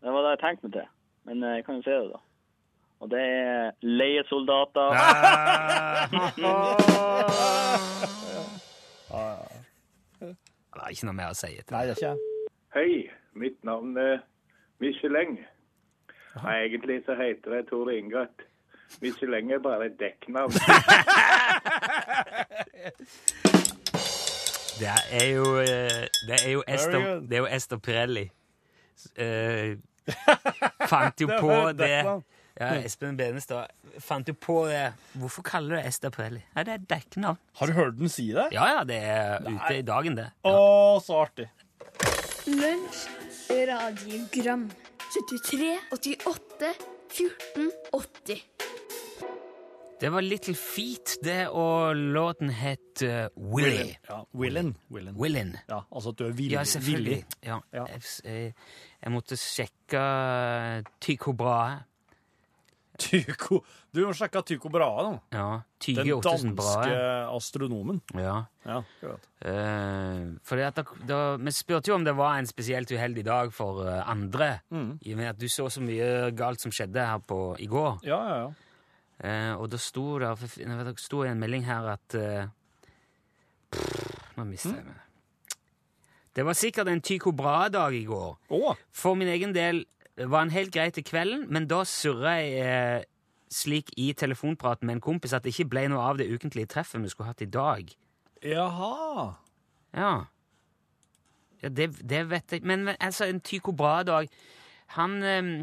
Speaker 7: Det var det jeg tenkte meg til. Men eh, jeg kan jo si det, da. Og det er leiesoldater.
Speaker 2: Det er ikke noe mer å si etter.
Speaker 3: Nei, det er ikke jeg.
Speaker 1: Hei, mitt navn er Michelin. Nei, egentlig så heter jeg Tor Ingat. Michelin er bare et dekknavn.
Speaker 2: Det er jo, eh, det er jo, Ester,
Speaker 3: good.
Speaker 2: det er jo Ester Pirelli. Eh, fant jo på
Speaker 3: var et
Speaker 2: det
Speaker 3: dekknavn.
Speaker 2: ja, Espen Benestad fant jo på det. Hvorfor kaller du det Ester Pirelli? Nei, det er et dekknavn.
Speaker 3: Har du hørt den si det?
Speaker 2: Ja ja, det er ute i dagen, det.
Speaker 3: Å, så artig.
Speaker 5: Lunsj, radiogram 73, 88, 14, 80
Speaker 2: Det var Little Feet, det, og låten het eh, Willy.
Speaker 3: Ja, Willen. Willen.
Speaker 2: Willin.
Speaker 3: Ja, altså at du er villig.
Speaker 2: Ja, selvfølgelig.
Speaker 3: villig. [LAUGHS]
Speaker 2: Ja.
Speaker 3: Ja.
Speaker 2: Jeg, jeg, jeg måtte sjekke eh, Tycho Brahe.
Speaker 3: Tycho. Du må sjekke Tycho Brahe, da.
Speaker 2: Ja,
Speaker 3: Den
Speaker 2: 20
Speaker 3: danske
Speaker 2: 8000 Brahe.
Speaker 3: astronomen.
Speaker 2: Ja.
Speaker 3: Ja, akkurat.
Speaker 2: Eh, fordi at da, da, vi spurte jo om det var en spesielt uheldig dag for eh, andre,
Speaker 3: Mm.
Speaker 2: i og med at du så så mye galt som skjedde her på, i går.
Speaker 3: ja, ja, ja.
Speaker 2: Eh, og da sto det, det sto i en melding her at eh, pff, Nå mister jeg meg. Det var sikkert en Tycho Brahe-dag i går.
Speaker 3: Å,
Speaker 2: For min egen del var den helt grei til kvelden, men da surra jeg eh, slik i telefonpraten med en kompis at det ikke ble noe av det ukentlige treffet vi skulle hatt i dag.
Speaker 3: jaha.
Speaker 2: Ja. ja det, det vet jeg. Men, men altså, en Tycho Brahe-dag Han ehm,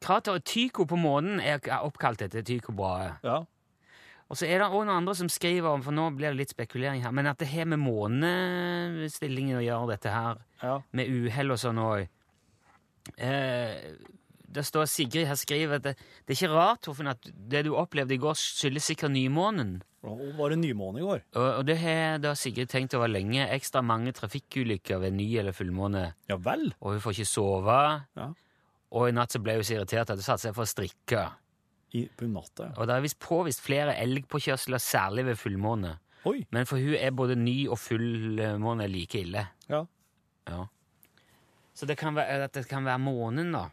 Speaker 2: Krateret Tycho på månen er k- er oppkalt etter Tycho Brahe.
Speaker 3: Ja.
Speaker 2: Og så er det også noen andre som skriver om, for nå blir det litt spekulering her, men at det har med månestillingen å gjøre, dette her,
Speaker 3: Ja.
Speaker 2: med uhell og sånn òg. Eh, det står Sigrid her skriver at det, det er ikke rart, Torfinn, at det du opplevde i går, skyldes sikkert nymånen.
Speaker 3: Og var det nymåne i går?
Speaker 2: Og, og det har da Sigrid tenkt over lenge. Ekstra mange trafikkulykker ved ny eller fullmåne.
Speaker 3: Ja vel.
Speaker 2: Og hun får ikke sove.
Speaker 3: Ja.
Speaker 2: Og i natt så ble hun så irritert at hun satte seg for å strikke.
Speaker 3: I, på natta, ja.
Speaker 2: Og det er visst påvist flere elgpåkjørsler, særlig ved fullmåne.
Speaker 3: Oi.
Speaker 2: Men for hun er både ny og fullmåne like ille.
Speaker 3: Ja.
Speaker 2: Ja. Så det kan være, at det kan være månen, da.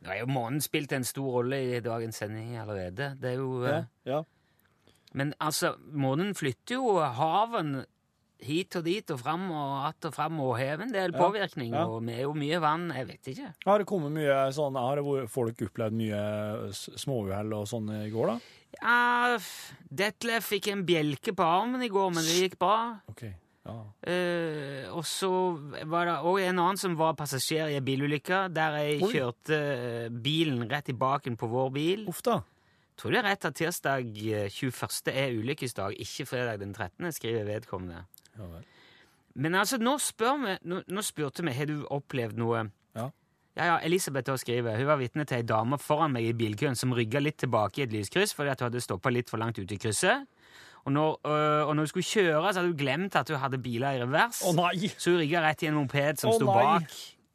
Speaker 2: Nå er jo månen spilt en stor rolle i dagens sending allerede. Det er jo...
Speaker 3: Ja.
Speaker 2: eh,
Speaker 3: ja.
Speaker 2: Men altså, månen flytter jo haven hit og dit og fram og att og fram og har en del påvirkning.
Speaker 3: ja.
Speaker 2: Og vi er jo mye vann, jeg vet ikke.
Speaker 3: Har det kommet mye sånn Har det vært- folk opplevd mye eh, s- småuhell og sånn i går, da?
Speaker 2: Ja, f- Detlef fikk en bjelke på armen i går, men det gikk bra.
Speaker 3: OK. Ja.
Speaker 2: Eh, og så var det òg en annen som var passasjer i ei bilulykke, der jeg
Speaker 3: Oi.
Speaker 2: kjørte eh, bilen rett i baken på vår bil.
Speaker 3: Uff da.
Speaker 2: Tror det er rett at tirsdag eh, 21. er ulykkesdag, ikke fredag den 13., skriver vedkommende.
Speaker 3: Ja vel.
Speaker 2: Men altså, nå, spør vi, nå, nå spurte vi har du opplevd noe.
Speaker 3: Ja.
Speaker 2: Ja, ja, Elisabeth også skriver hun var vitne til ei dame foran meg i bilkøen som rygga litt tilbake i et lyskryss fordi at hun hadde stoppa litt for langt ute i krysset. Og når, øh, og når du skulle kjøre, så hadde du glemt at du hadde biler i revers.
Speaker 3: Å nei!
Speaker 2: Så du rigga rett i en moped som
Speaker 3: Å
Speaker 2: sto
Speaker 3: nei.
Speaker 2: bak.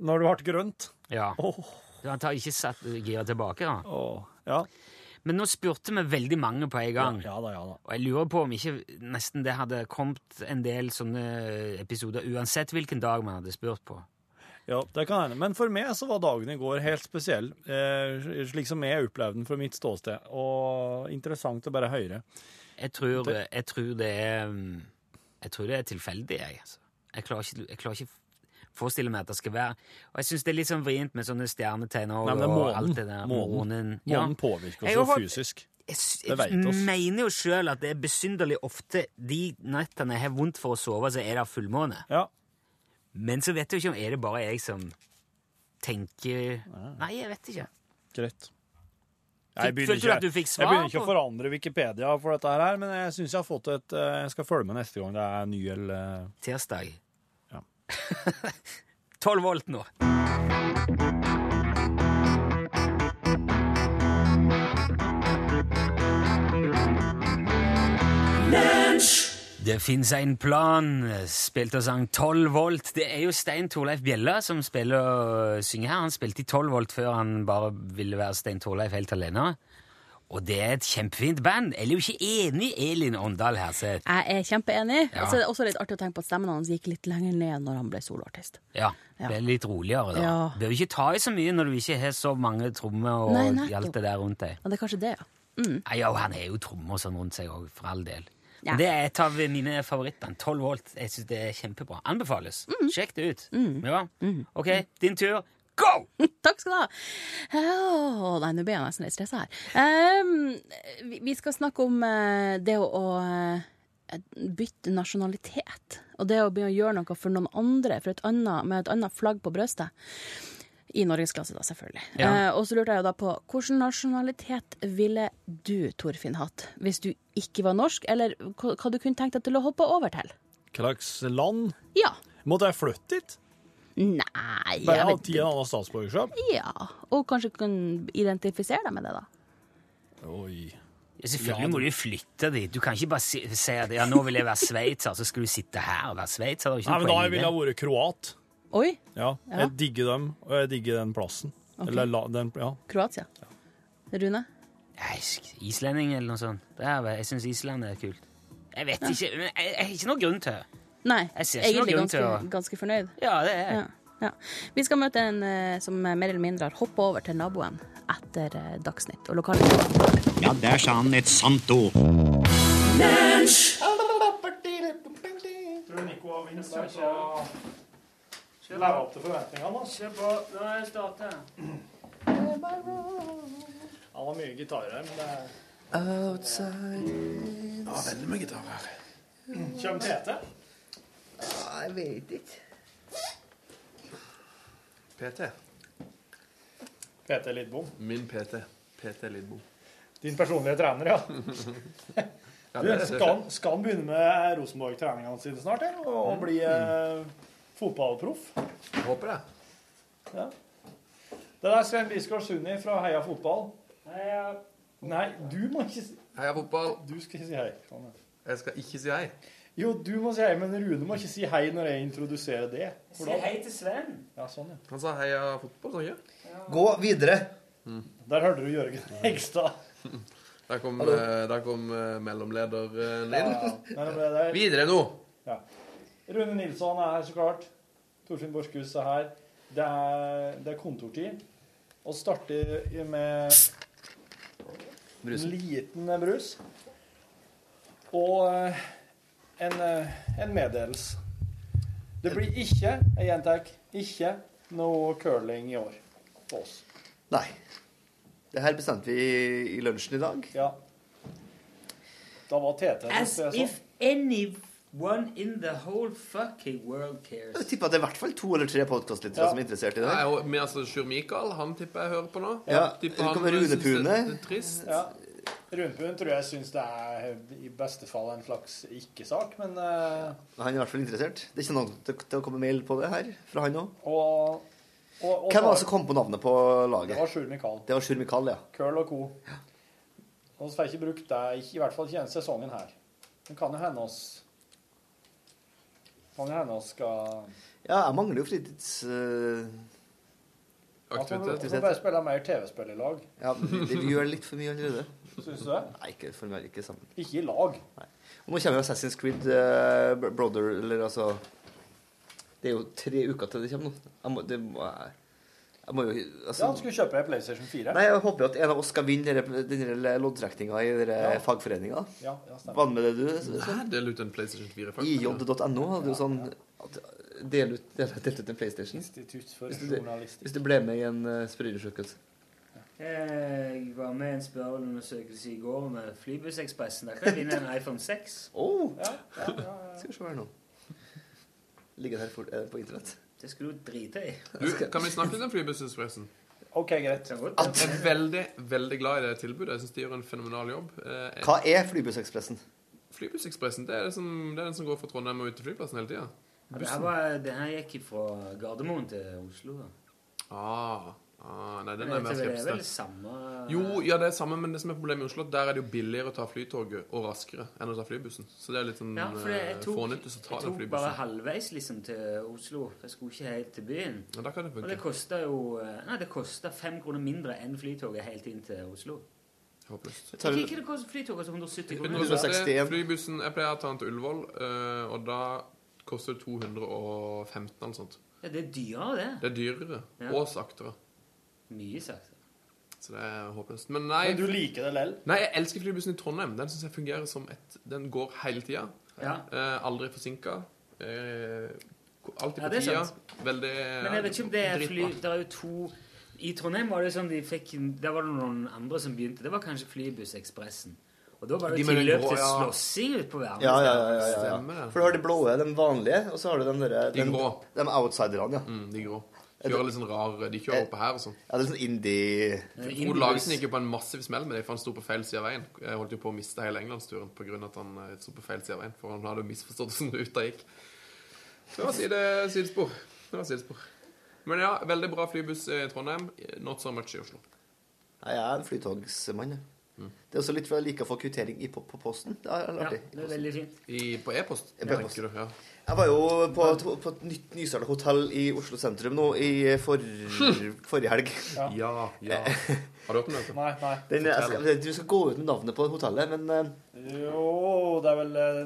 Speaker 3: Når det ble grønt.
Speaker 2: Ja.
Speaker 3: Åh,
Speaker 2: Du har ikke satt giret tilbake, da.
Speaker 3: åh. Ja.
Speaker 2: Men nå spurte vi veldig mange på en gang.
Speaker 3: ja da, ja da.
Speaker 2: Og jeg lurer på om ikke nesten det hadde kommet en del sånne episoder uansett hvilken dag man hadde spurt på.
Speaker 3: Ja, det kan hende. Men for meg så var dagen i går helt spesiell, eh, slik som jeg opplevde den fra mitt ståsted. Og interessant å bare høre.
Speaker 2: Jeg tror, jeg tror det er mm, Jeg tror det er tilfeldig, jeg. Altså. Jeg klarer ikke, jeg klarer ikke forestille meg at det skal være Og jeg syns det er litt sånn vrient med sånne stjernetegner og,
Speaker 3: Nei, men det er
Speaker 2: og
Speaker 3: månen.
Speaker 2: alt det der.
Speaker 3: Månen.
Speaker 2: Ja.
Speaker 3: Månen påvirker
Speaker 2: Jeg
Speaker 3: oss
Speaker 2: har-
Speaker 3: jo fysisk.
Speaker 2: Jeg, s-
Speaker 3: Det vet
Speaker 2: jeg
Speaker 3: oss.
Speaker 2: mener jo sjøl at det er besynderlig ofte de nettene jeg har vondt for å sove, så er det fullmåne.
Speaker 3: Ja.
Speaker 2: Men så vet jeg jo ikke om er det bare jeg som tenker Nei, jeg vet ikke.
Speaker 3: Greit.
Speaker 2: Fikk- følte du at du fikk svar
Speaker 3: jeg begynner ikke
Speaker 2: på-
Speaker 3: å forandre Wikipedia for dette her, men jeg syns jeg har fått et eh, Jeg skal følge med neste gang det er ny eller eh,
Speaker 2: Tirsdag. [LAUGHS]
Speaker 3: Ja.
Speaker 2: 12 volt nå. Det fins en plan, spilte og sang 12 volt. Det er jo Stein Torleif Bjella som spiller og synger her. Han spilte i 12 volt før han bare ville være Stein Torleif helt alene. Og det er et kjempefint band. Jeg er jo ikke enig, Elin Åndal Herseth.
Speaker 9: Jeg er kjempeenig.
Speaker 2: Ja.
Speaker 9: Og så er det også litt artig å tenke på at stemmen hans gikk litt lenger ned når han ble soloartist.
Speaker 2: Ja,
Speaker 9: Ja.
Speaker 2: det er litt roligere da.
Speaker 9: Ja.
Speaker 2: Bør ikke ta i så mye når du ikke har så mange trommer og
Speaker 9: Nei, nettopp.
Speaker 2: alt det der rundt deg.
Speaker 9: Ja, det er kanskje det, ja.
Speaker 2: Nei, ja, han har jo trommer sånn rundt seg òg, for all del.
Speaker 9: Ja.
Speaker 2: Men det er et av mine favorittband. 12 volt. Jeg syns det er kjempebra. Anbefales.
Speaker 9: Mm.
Speaker 2: Sjekk det ut. Ja. OK, din tur. Go!
Speaker 9: Takk skal du ha. Å, nei, nå blir jeg nesten litt stressa her. Ehm, vi, vi skal snakke om eh, det å, å eh, bytte nasjonalitet. Og det å begynne å gjøre noe for noen andre for et annet, med et annet flagg på brystet. I norgesklasse, da, selvfølgelig.
Speaker 2: Ja.
Speaker 9: Eh, og så lurte jeg jo da på hvilken nasjonalitet ville du, Torfinn, hatt hvis du ikke var norsk? Eller hva, hva du kunne tenkt deg til å hoppe over til?
Speaker 3: Hva slags land?
Speaker 9: Ja.
Speaker 3: Måtte jeg flytte dit?
Speaker 9: Nei
Speaker 3: Bare
Speaker 9: jeg
Speaker 3: ha
Speaker 9: vet-
Speaker 3: tid en annen statsborgerskap?
Speaker 9: Ja. Og kanskje kunne identifisere deg med det, da.
Speaker 3: Oi.
Speaker 2: Ja, selvfølgelig må du flytte dit. Du kan ikke bare si, si at ja, nå vil jeg være sveitser, så skal du sitte her og være sveitser. Det er jo ikke
Speaker 3: Nei, men
Speaker 2: noe
Speaker 3: da
Speaker 2: poeng i
Speaker 3: ville
Speaker 2: det.
Speaker 3: jeg vært kroat.
Speaker 9: Oi,
Speaker 3: Ja.
Speaker 9: Ja.
Speaker 3: Jeg digger dem, og jeg digger den plassen. Eller la, den Ja.
Speaker 9: Kroatia. Rune?
Speaker 2: Nei, sk- Islending eller noe sånt. Det er, jeg syns Island er kult. Jeg vet ikke, men jeg, jeg har ikke noe grunn til det.
Speaker 9: Nei,
Speaker 2: Jeg ser ikke noen
Speaker 9: egentlig
Speaker 2: grunn
Speaker 9: ganske,
Speaker 2: til å-
Speaker 9: ganske fornøyd.
Speaker 2: Ja, det er
Speaker 9: Ja, ja. Vi skal møte en eh, som mer eller mindre har hoppa over til naboen etter eh, Dagsnytt og lokalnytt.
Speaker 10: Ja, der sa han et sant ord.
Speaker 3: Tror du Nico har minst sjanse å leve opp til forventningene? Kjør på. Nå er jeg starta. Han har mye gitarer her, men det er
Speaker 11: Ja, veldig mye gitar her.
Speaker 3: Kjem Tete?
Speaker 11: Jeg vet ikke. PT.
Speaker 3: Tete Lidbom.
Speaker 11: Min PT. PT Lidbom.
Speaker 3: Din personlige
Speaker 11: [LAUGHS]
Speaker 3: trener, ja.
Speaker 11: Ja,
Speaker 3: Du, skal, han, skal han begynne med Rosenborg-treningene sine snart, eller? Og, og bli eh, fotballproff?
Speaker 11: Mm. Jeg håper det.
Speaker 3: Det der er Svein Bisgaard Sunni fra Heia Fotball. Nei, du må ikke si
Speaker 11: Heia fotball.
Speaker 3: Du skal ikke si hei. Sånn, ja.
Speaker 11: Jeg skal ikke si hei.
Speaker 3: Jo, du må si hei, men Rune må ikke si hei når jeg introduserer det. For da-
Speaker 2: hei til Sven.
Speaker 3: Ja, sånn, ja.
Speaker 11: Han sa heia fotball, sa han ikke? Mm.
Speaker 10: Gå videre.
Speaker 3: Der hørte du Jørgen Hegstad.
Speaker 11: [LAUGHS] Der kom, eh, der kom eh, mellomlederen inn.
Speaker 3: Nei, det ble der.
Speaker 11: Videre nå.
Speaker 3: Rune Nilsson er her, så klart. Torfinn Borchhus er her. Det er, det er kontortid. Og starter med en liten brus. Og eh, en, eh, en meddelelse. Det blir ikke, jeg gjentar, ikke noe curling i år på oss.
Speaker 10: Nei. Det her bestemte vi i, i lunsjen i dag.
Speaker 3: Ja. Da var TT det
Speaker 2: As
Speaker 3: jeg så.
Speaker 2: if anyone in the whole fucking world cares.
Speaker 10: Jeg tipper at det er i hvert fall to eller tre podkastlyttere
Speaker 3: Ja.
Speaker 10: som er interessert i det.
Speaker 11: Nei, og, men altså, Sjur Mikael, han tipper jeg hører på nå.
Speaker 10: Ja,
Speaker 11: Tipper
Speaker 10: det kommer Rune
Speaker 11: synes
Speaker 10: Pune.
Speaker 11: Det er trist.
Speaker 3: Ja. Rundpund tror jeg syns det er i beste fall en slags ikke-sak, men eh,
Speaker 10: Han er i hvert fall interessert. Det er ikke noen til, til å komme mail på det her fra han òg.
Speaker 3: Og, og, og
Speaker 10: Hvem var det som kom på navnet på
Speaker 3: Det
Speaker 10: laget?
Speaker 3: var Sjur Mikael.
Speaker 10: Det var Sjur Mikael, ja.
Speaker 3: Curl og co. Og så får jeg ikke brukt det, ikke, i hvert fall ikke denne sesongen her. Det kan jo hende oss Kan jo hende oss skal
Speaker 10: Ja, jeg mangler jo fritids... eh,
Speaker 3: Ja, Vi får bare spille mer TV-spill i lag.
Speaker 10: Ja, vi, vi gjør litt for mye allerede.
Speaker 3: Syns du det?
Speaker 10: Nei, ikke for mye, ikke sammen.
Speaker 3: Ikke i lag.
Speaker 10: Og nå kommer jo Assassin's Creed eh, Br- Brother, eller altså Det er jo tre uker til det kommer nå. Jeg må, det må jeg jeg må jo altså,
Speaker 3: Ja, du skulle kjøpe en PlayStation 4.
Speaker 10: Nei, jeg håper jo at en av oss skal vinne denne, denne loddtrekninga i denne
Speaker 3: Ja.
Speaker 10: fagforeninga.
Speaker 3: Ja, ja, stemmer.
Speaker 10: Var det med det du
Speaker 11: Nei, del ut en PlayStation 4.
Speaker 10: IJ.no hadde jo sånn at Del ut, del, delt ut en PlayStation.
Speaker 3: Institutt for
Speaker 10: Hvis du,
Speaker 3: journalistikk.
Speaker 10: hvis du ble med i en uh, spørreundersøkelse.
Speaker 12: Jeg var med i en spørreundersøkelse i går med Flybussekspressen. Der kan jeg vinne en iPhone 6.
Speaker 10: Oh. Skal vi se her nå. Ligger det her for, eh, på internett.
Speaker 12: Det skulle du drite i.
Speaker 11: Du, kan vi snakke litt om Flybussespressen?
Speaker 3: Ok, greit.
Speaker 11: Jeg er veldig, veldig glad i det tilbudet. Jeg synes de gjør en fenomenal jobb. Eh,
Speaker 10: Hva er Flybussekspressen?
Speaker 11: Flybussekspressen? Det er, det, som, det er den som går fra Trondheim og ut til flyplassen hele tida.
Speaker 12: Ja, Det her, var, det her gikk fra Gardermoen til Oslo. da.
Speaker 11: Ah, ah, nei,
Speaker 12: Men
Speaker 11: den er
Speaker 12: jeg
Speaker 11: mer
Speaker 12: tror det er
Speaker 11: kjepste.
Speaker 12: vel samme-
Speaker 11: Jo, ja, det er samme, men det som er problemet i Oslo, der er det jo billigere å ta flytoget og raskere enn å ta flybussen. Så det er litt sånn
Speaker 12: Ja, for det, jeg
Speaker 11: eh,
Speaker 12: tok,
Speaker 11: fånyttes
Speaker 12: jeg
Speaker 11: å ta den
Speaker 12: tok bare
Speaker 11: flybussen.
Speaker 12: halvveis liksom til Oslo. Jeg skulle ikke helt til byen.
Speaker 11: Ja, da kan det
Speaker 12: og
Speaker 11: funke.
Speaker 12: det kosta jo eh, Nei, det kosta fem kroner mindre enn flytoget helt inn til Oslo.
Speaker 11: Håpløst.
Speaker 12: Jeg tror ikke det koster flytoget som 170 kroner.
Speaker 11: 160. Flybussen, jeg pleier å ta den til Ullevål, eh, og da koster det 215 eller sånt.
Speaker 12: Ja, det er dyrere, det.
Speaker 11: Det er dyrere
Speaker 12: Ja.
Speaker 11: og saktere.
Speaker 12: Mye saktere.
Speaker 11: Så det er håpløst. Men nei
Speaker 3: Men du liker det lell?
Speaker 11: Nei, jeg elsker flybussen i Trondheim. Den synes jeg fungerer som et Den går hele tida.
Speaker 12: Ja.
Speaker 11: Eh, aldri forsinka. Eh, alltid
Speaker 12: Ja,
Speaker 11: på
Speaker 12: det er
Speaker 11: tida.
Speaker 12: sant.
Speaker 11: Veldig
Speaker 12: Men jeg vet ikke om det er fly
Speaker 11: dritbra.
Speaker 12: Det er jo to I Trondheim var det sånn de fikk Der var det noen andre som begynte. Det var kanskje Flybussekspressen. Og da var det
Speaker 10: De
Speaker 12: jo
Speaker 10: med den
Speaker 12: tilløp
Speaker 10: grå,
Speaker 12: til
Speaker 10: ja.
Speaker 12: slåssing ute på
Speaker 10: Ja,
Speaker 12: verden.
Speaker 10: ja, ja. ja, ja,
Speaker 11: Stemmer
Speaker 10: For du har de blå, de vanlige, og så har du de derre
Speaker 11: De
Speaker 10: den-
Speaker 11: grå. Mm.
Speaker 10: De outsiderne, ja.
Speaker 11: de grå. Kjører litt sånn rar De kjører oppå her og sånn.
Speaker 10: Ja, det er sånn indie
Speaker 12: Eh,
Speaker 11: Frode Lagesen gikk jo på en massiv smell med det, for han sto på feil side av veien. Jeg holdt jo på å miste hele englandsturen på grunn av at han eh, sto på feil side av veien. For han hadde jo misforstått hvordan ruta gikk. Det var side, sidespor. Det var sidespor. Men ja, veldig bra flybuss i Trondheim. Not so much i Oslo.
Speaker 10: Nei, jeg er en flytogsmann. jeg.
Speaker 11: Mm.
Speaker 10: Det er også litt for jeg liker å få kvittering i, på, på posten. Det er
Speaker 12: Ja,
Speaker 10: artig.
Speaker 12: det er veldig fint.
Speaker 11: I, på e-post,
Speaker 10: På
Speaker 11: tenker
Speaker 10: e-post.
Speaker 11: du. Ja.
Speaker 10: Jeg var jo på, et- på et nytt nystartet hotell i Oslo sentrum nå i for,
Speaker 11: Hm.
Speaker 10: forrige helg.
Speaker 3: Ja.
Speaker 11: ja, Har du åpnet
Speaker 3: Nei, nei.
Speaker 10: Den, jeg skal, du skal gå ut med navnet på hotellet, men eh,
Speaker 3: Jo, det er vel eh,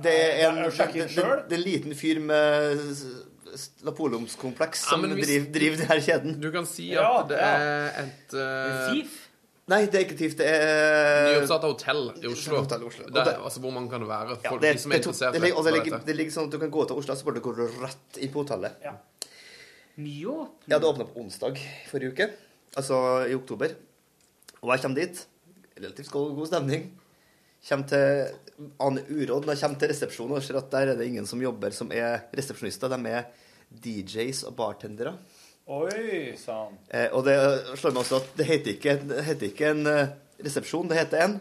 Speaker 10: det er en,
Speaker 3: Jeg
Speaker 10: det,
Speaker 3: sjekker
Speaker 10: det, det er en liten fyr med s- s- napoleonskompleks som
Speaker 11: men hvis-
Speaker 10: driver, driver denne kjeden.
Speaker 11: Du kan si at
Speaker 10: Ja,
Speaker 11: det
Speaker 10: ja.
Speaker 11: er et eh,
Speaker 10: Nei, det er ikke TIF. Det er
Speaker 11: Nyoppsatt hotell i Oslo.
Speaker 10: Hotell i Oslo. Og
Speaker 11: Det er,
Speaker 10: det-
Speaker 11: altså, hvor mange kan det være?
Speaker 10: Ja,
Speaker 11: Folk,
Speaker 10: det,
Speaker 11: de som er
Speaker 10: det, to-
Speaker 11: interessert.
Speaker 10: det, ligger- og det,
Speaker 11: vet hva
Speaker 10: ligger, det ligger sånn at du kan gå til Oslo, så bare går du rett inn på hotellet.
Speaker 12: Nyåpning?
Speaker 10: Ja, det åpna på onsdag forrige uke. Altså i oktober. Og jeg kommer dit. Relativt god, god stemning. Kommer til aner uråd når jeg kommer til resepsjonen og ser at der er det ingen som jobber som er resepsjonister. De er DJs og bartendere.
Speaker 3: Oi sann.
Speaker 10: Eh, og det slår meg også at det heter ikke, det heter ikke en eh, resepsjon, det heter en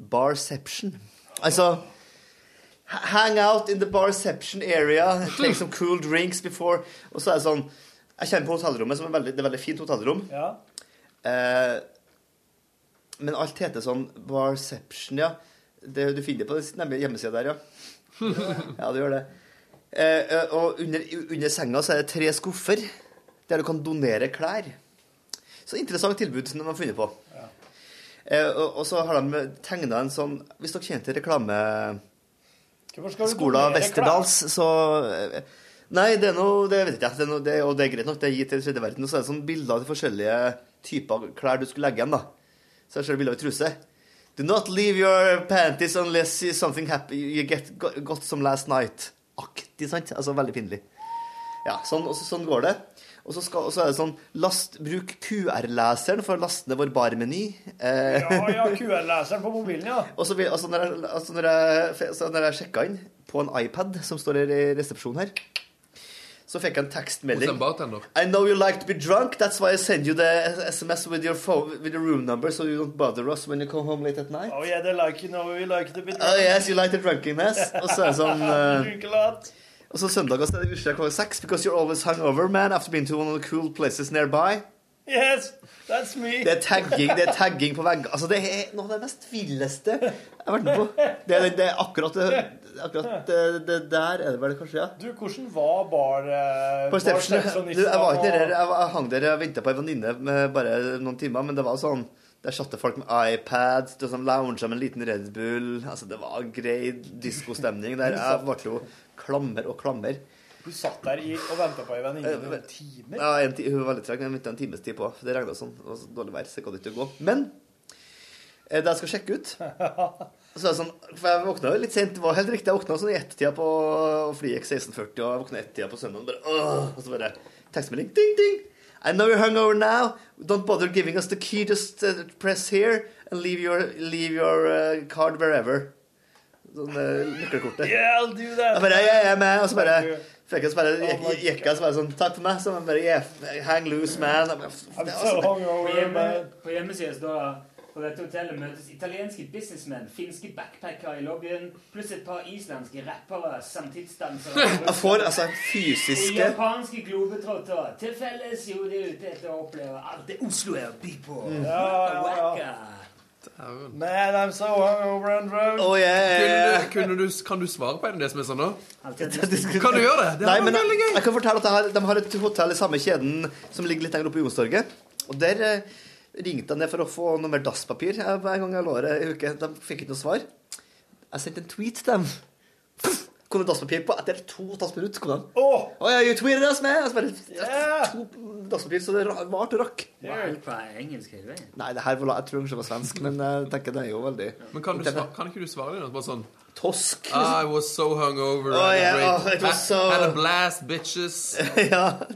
Speaker 10: barception. Altså h- Hang out in the barception area, take some cool drinks before Og så er det sånn Jeg kjenner på hotellrommet, som er veldig, det er veldig fint hotellrom.
Speaker 3: Ja.
Speaker 10: Eh, men alt heter sånn barception, ja. Det, du finner det på den hjemmesida der, ja. Ja, du gjør det. Eh, eh, og under, under senga så er det tre skuffer der du kan donere klær. Så interessant tilbud som de har funnet på. Eh, og, og så har de tegna en sånn Hvis dere kjenner til reklameskolen
Speaker 3: Hvorfor skal du
Speaker 10: av
Speaker 3: donere
Speaker 10: Westerdals, så eh, Nei, det er noe Det vet ikke jeg. Det er noe, det, og det er greit nok, det er gitt til tredje verden. Og så er det sånn bilder av de forskjellige typer klær du skulle legge igjen, da. Så jeg ser bilder av truse. Do not leave your panties unless something happy you get got, got some last night. Aktig, sant? Altså veldig pinlig. Ja, sånn, og så, sånn går det. Og så, skal, og så er det sånn last, Bruk QR-leseren for å laste ned vår barmeny. Eh,
Speaker 3: Ja, ja, QR-leseren på mobilen, ja.
Speaker 10: [LAUGHS] og så vil, altså når jeg, altså når jeg, så når jeg sjekka inn på en iPad som står her i resepsjonen her, så fikk jeg en
Speaker 11: Hos en
Speaker 10: tekstmelding.
Speaker 11: bartender.
Speaker 10: I know you like to be drunk, that's why I send you the SMS with your phone, with your room number, so you don't bother us when you come home late at night.
Speaker 3: Oh yeah, they like you know we like to be drunk.
Speaker 10: Oh yes, you like the
Speaker 3: [LAUGHS]
Speaker 10: drunkenness. Og så er det sånn eh,
Speaker 3: Drink a lot.
Speaker 10: Og så søndag så er det utsjekk klokka seks, because you're always hungover, man, after being to one of the cool places nearby.
Speaker 3: Yes, that's me.
Speaker 10: Det er tagging, det er tagging på vegger. Altså, det er noe av det mest villeste jeg har vært med på. Det er, det er akkurat, det, akkurat det, det der er det vel kanskje, ja.
Speaker 3: Du, hvordan var bar... eh,
Speaker 10: På reception,
Speaker 3: barresepsjonisten
Speaker 10: du, jeg var ikke der,
Speaker 3: og-
Speaker 10: jeg, var- jeg hang der og ventet på en venninne med bare noen timer, men det var sånn, der satte folk med iPads, det var sånn lounge med en liten Red Bull, altså det var grei diskostemning der. Jeg ble jo klammer og klammer.
Speaker 3: Du satt der i, og venta på ei venninne i
Speaker 10: Eh,
Speaker 3: noen timer.
Speaker 10: Ja, en ti hun var veldig treg, men jeg ventet en times tid på. for Det regnet sånn. Det var så dårlig vær, så det gadd ikke å gå. Men eh, da jeg skal sjekke ut så er det sånn, for Jeg våkna jo litt sent. Det var helt riktig. Jeg våkna sånn i ett-tida på Fliex 1640, og jeg våkna i ett-tida på søndagen. Bare, åh, og så bare tekstmelding. Ding, ding! I know you're hungover now. Don't bother giving us the key. Just uh, press here and leave your, leave your uh, card wherever. Sånn eh, nøkkelkortet.
Speaker 3: Yeah, I'll do that.
Speaker 10: Jeg bare, jeg er med, og så bare fikk jeg så
Speaker 3: Oh
Speaker 10: bare gikk- gikk jeg så bare sånn, takk for meg, så bare, yeah, hang loose, man. Jeg bare,
Speaker 3: I'm
Speaker 10: altså,
Speaker 3: so
Speaker 12: På,
Speaker 3: hungover,
Speaker 12: hjemme,
Speaker 3: man.
Speaker 12: på hjemmesiden står det på dette hotellet møtes italienske businessmenn, finske backpackere i lobbyen, pluss et par islandske rappere,
Speaker 10: [LAUGHS]
Speaker 12: samtidsdansere
Speaker 10: Jeg får altså
Speaker 12: og
Speaker 10: fysiske
Speaker 12: japanske globetrottere. Til felles jo de er ute etter å oppleve alt det Oslo er å by på.
Speaker 3: Mm. Ja, ja, Man, I'm so hungover and drunk.
Speaker 10: Eh,
Speaker 11: Kunne, kunne du, kan du svare på en av det som er sånn nå?
Speaker 10: Skal-
Speaker 11: Kan du gjøre det? Det
Speaker 10: Nei,
Speaker 11: hadde
Speaker 10: men
Speaker 11: vært veldig
Speaker 10: jeg, jeg kan fortelle at jeg har, De har et hotell i samme kjeden som ligger litt lenger oppe i Youngstorget. Og der eh, ringte jeg ned for å få noe mer dasspapir eh, hver gang jeg lå her ei uke. De fikk ikke noe svar. Jeg sendte en tweet til dem. Pff, Kom det dasspapir på etter to og et halvt minutt? Kom de.
Speaker 3: Oh.
Speaker 10: ja, you tweeted us, man! Og så altså, bare, To dasspapir, så det ra- varte og rakk.
Speaker 12: Var alt på engelsk hele veien?
Speaker 10: Nei, det her var, la- jeg tror kanskje det var svensk, men jeg tenker det er jo veldig
Speaker 11: Men kan, du svare, kan ikke du svare litt? Bare sånn
Speaker 10: Tosk. [LAUGHS]
Speaker 11: I was so hungover.
Speaker 10: Å,
Speaker 11: I had
Speaker 10: ja,
Speaker 11: a
Speaker 10: å,
Speaker 11: great-
Speaker 10: it was so-
Speaker 11: Had a blast, bitches.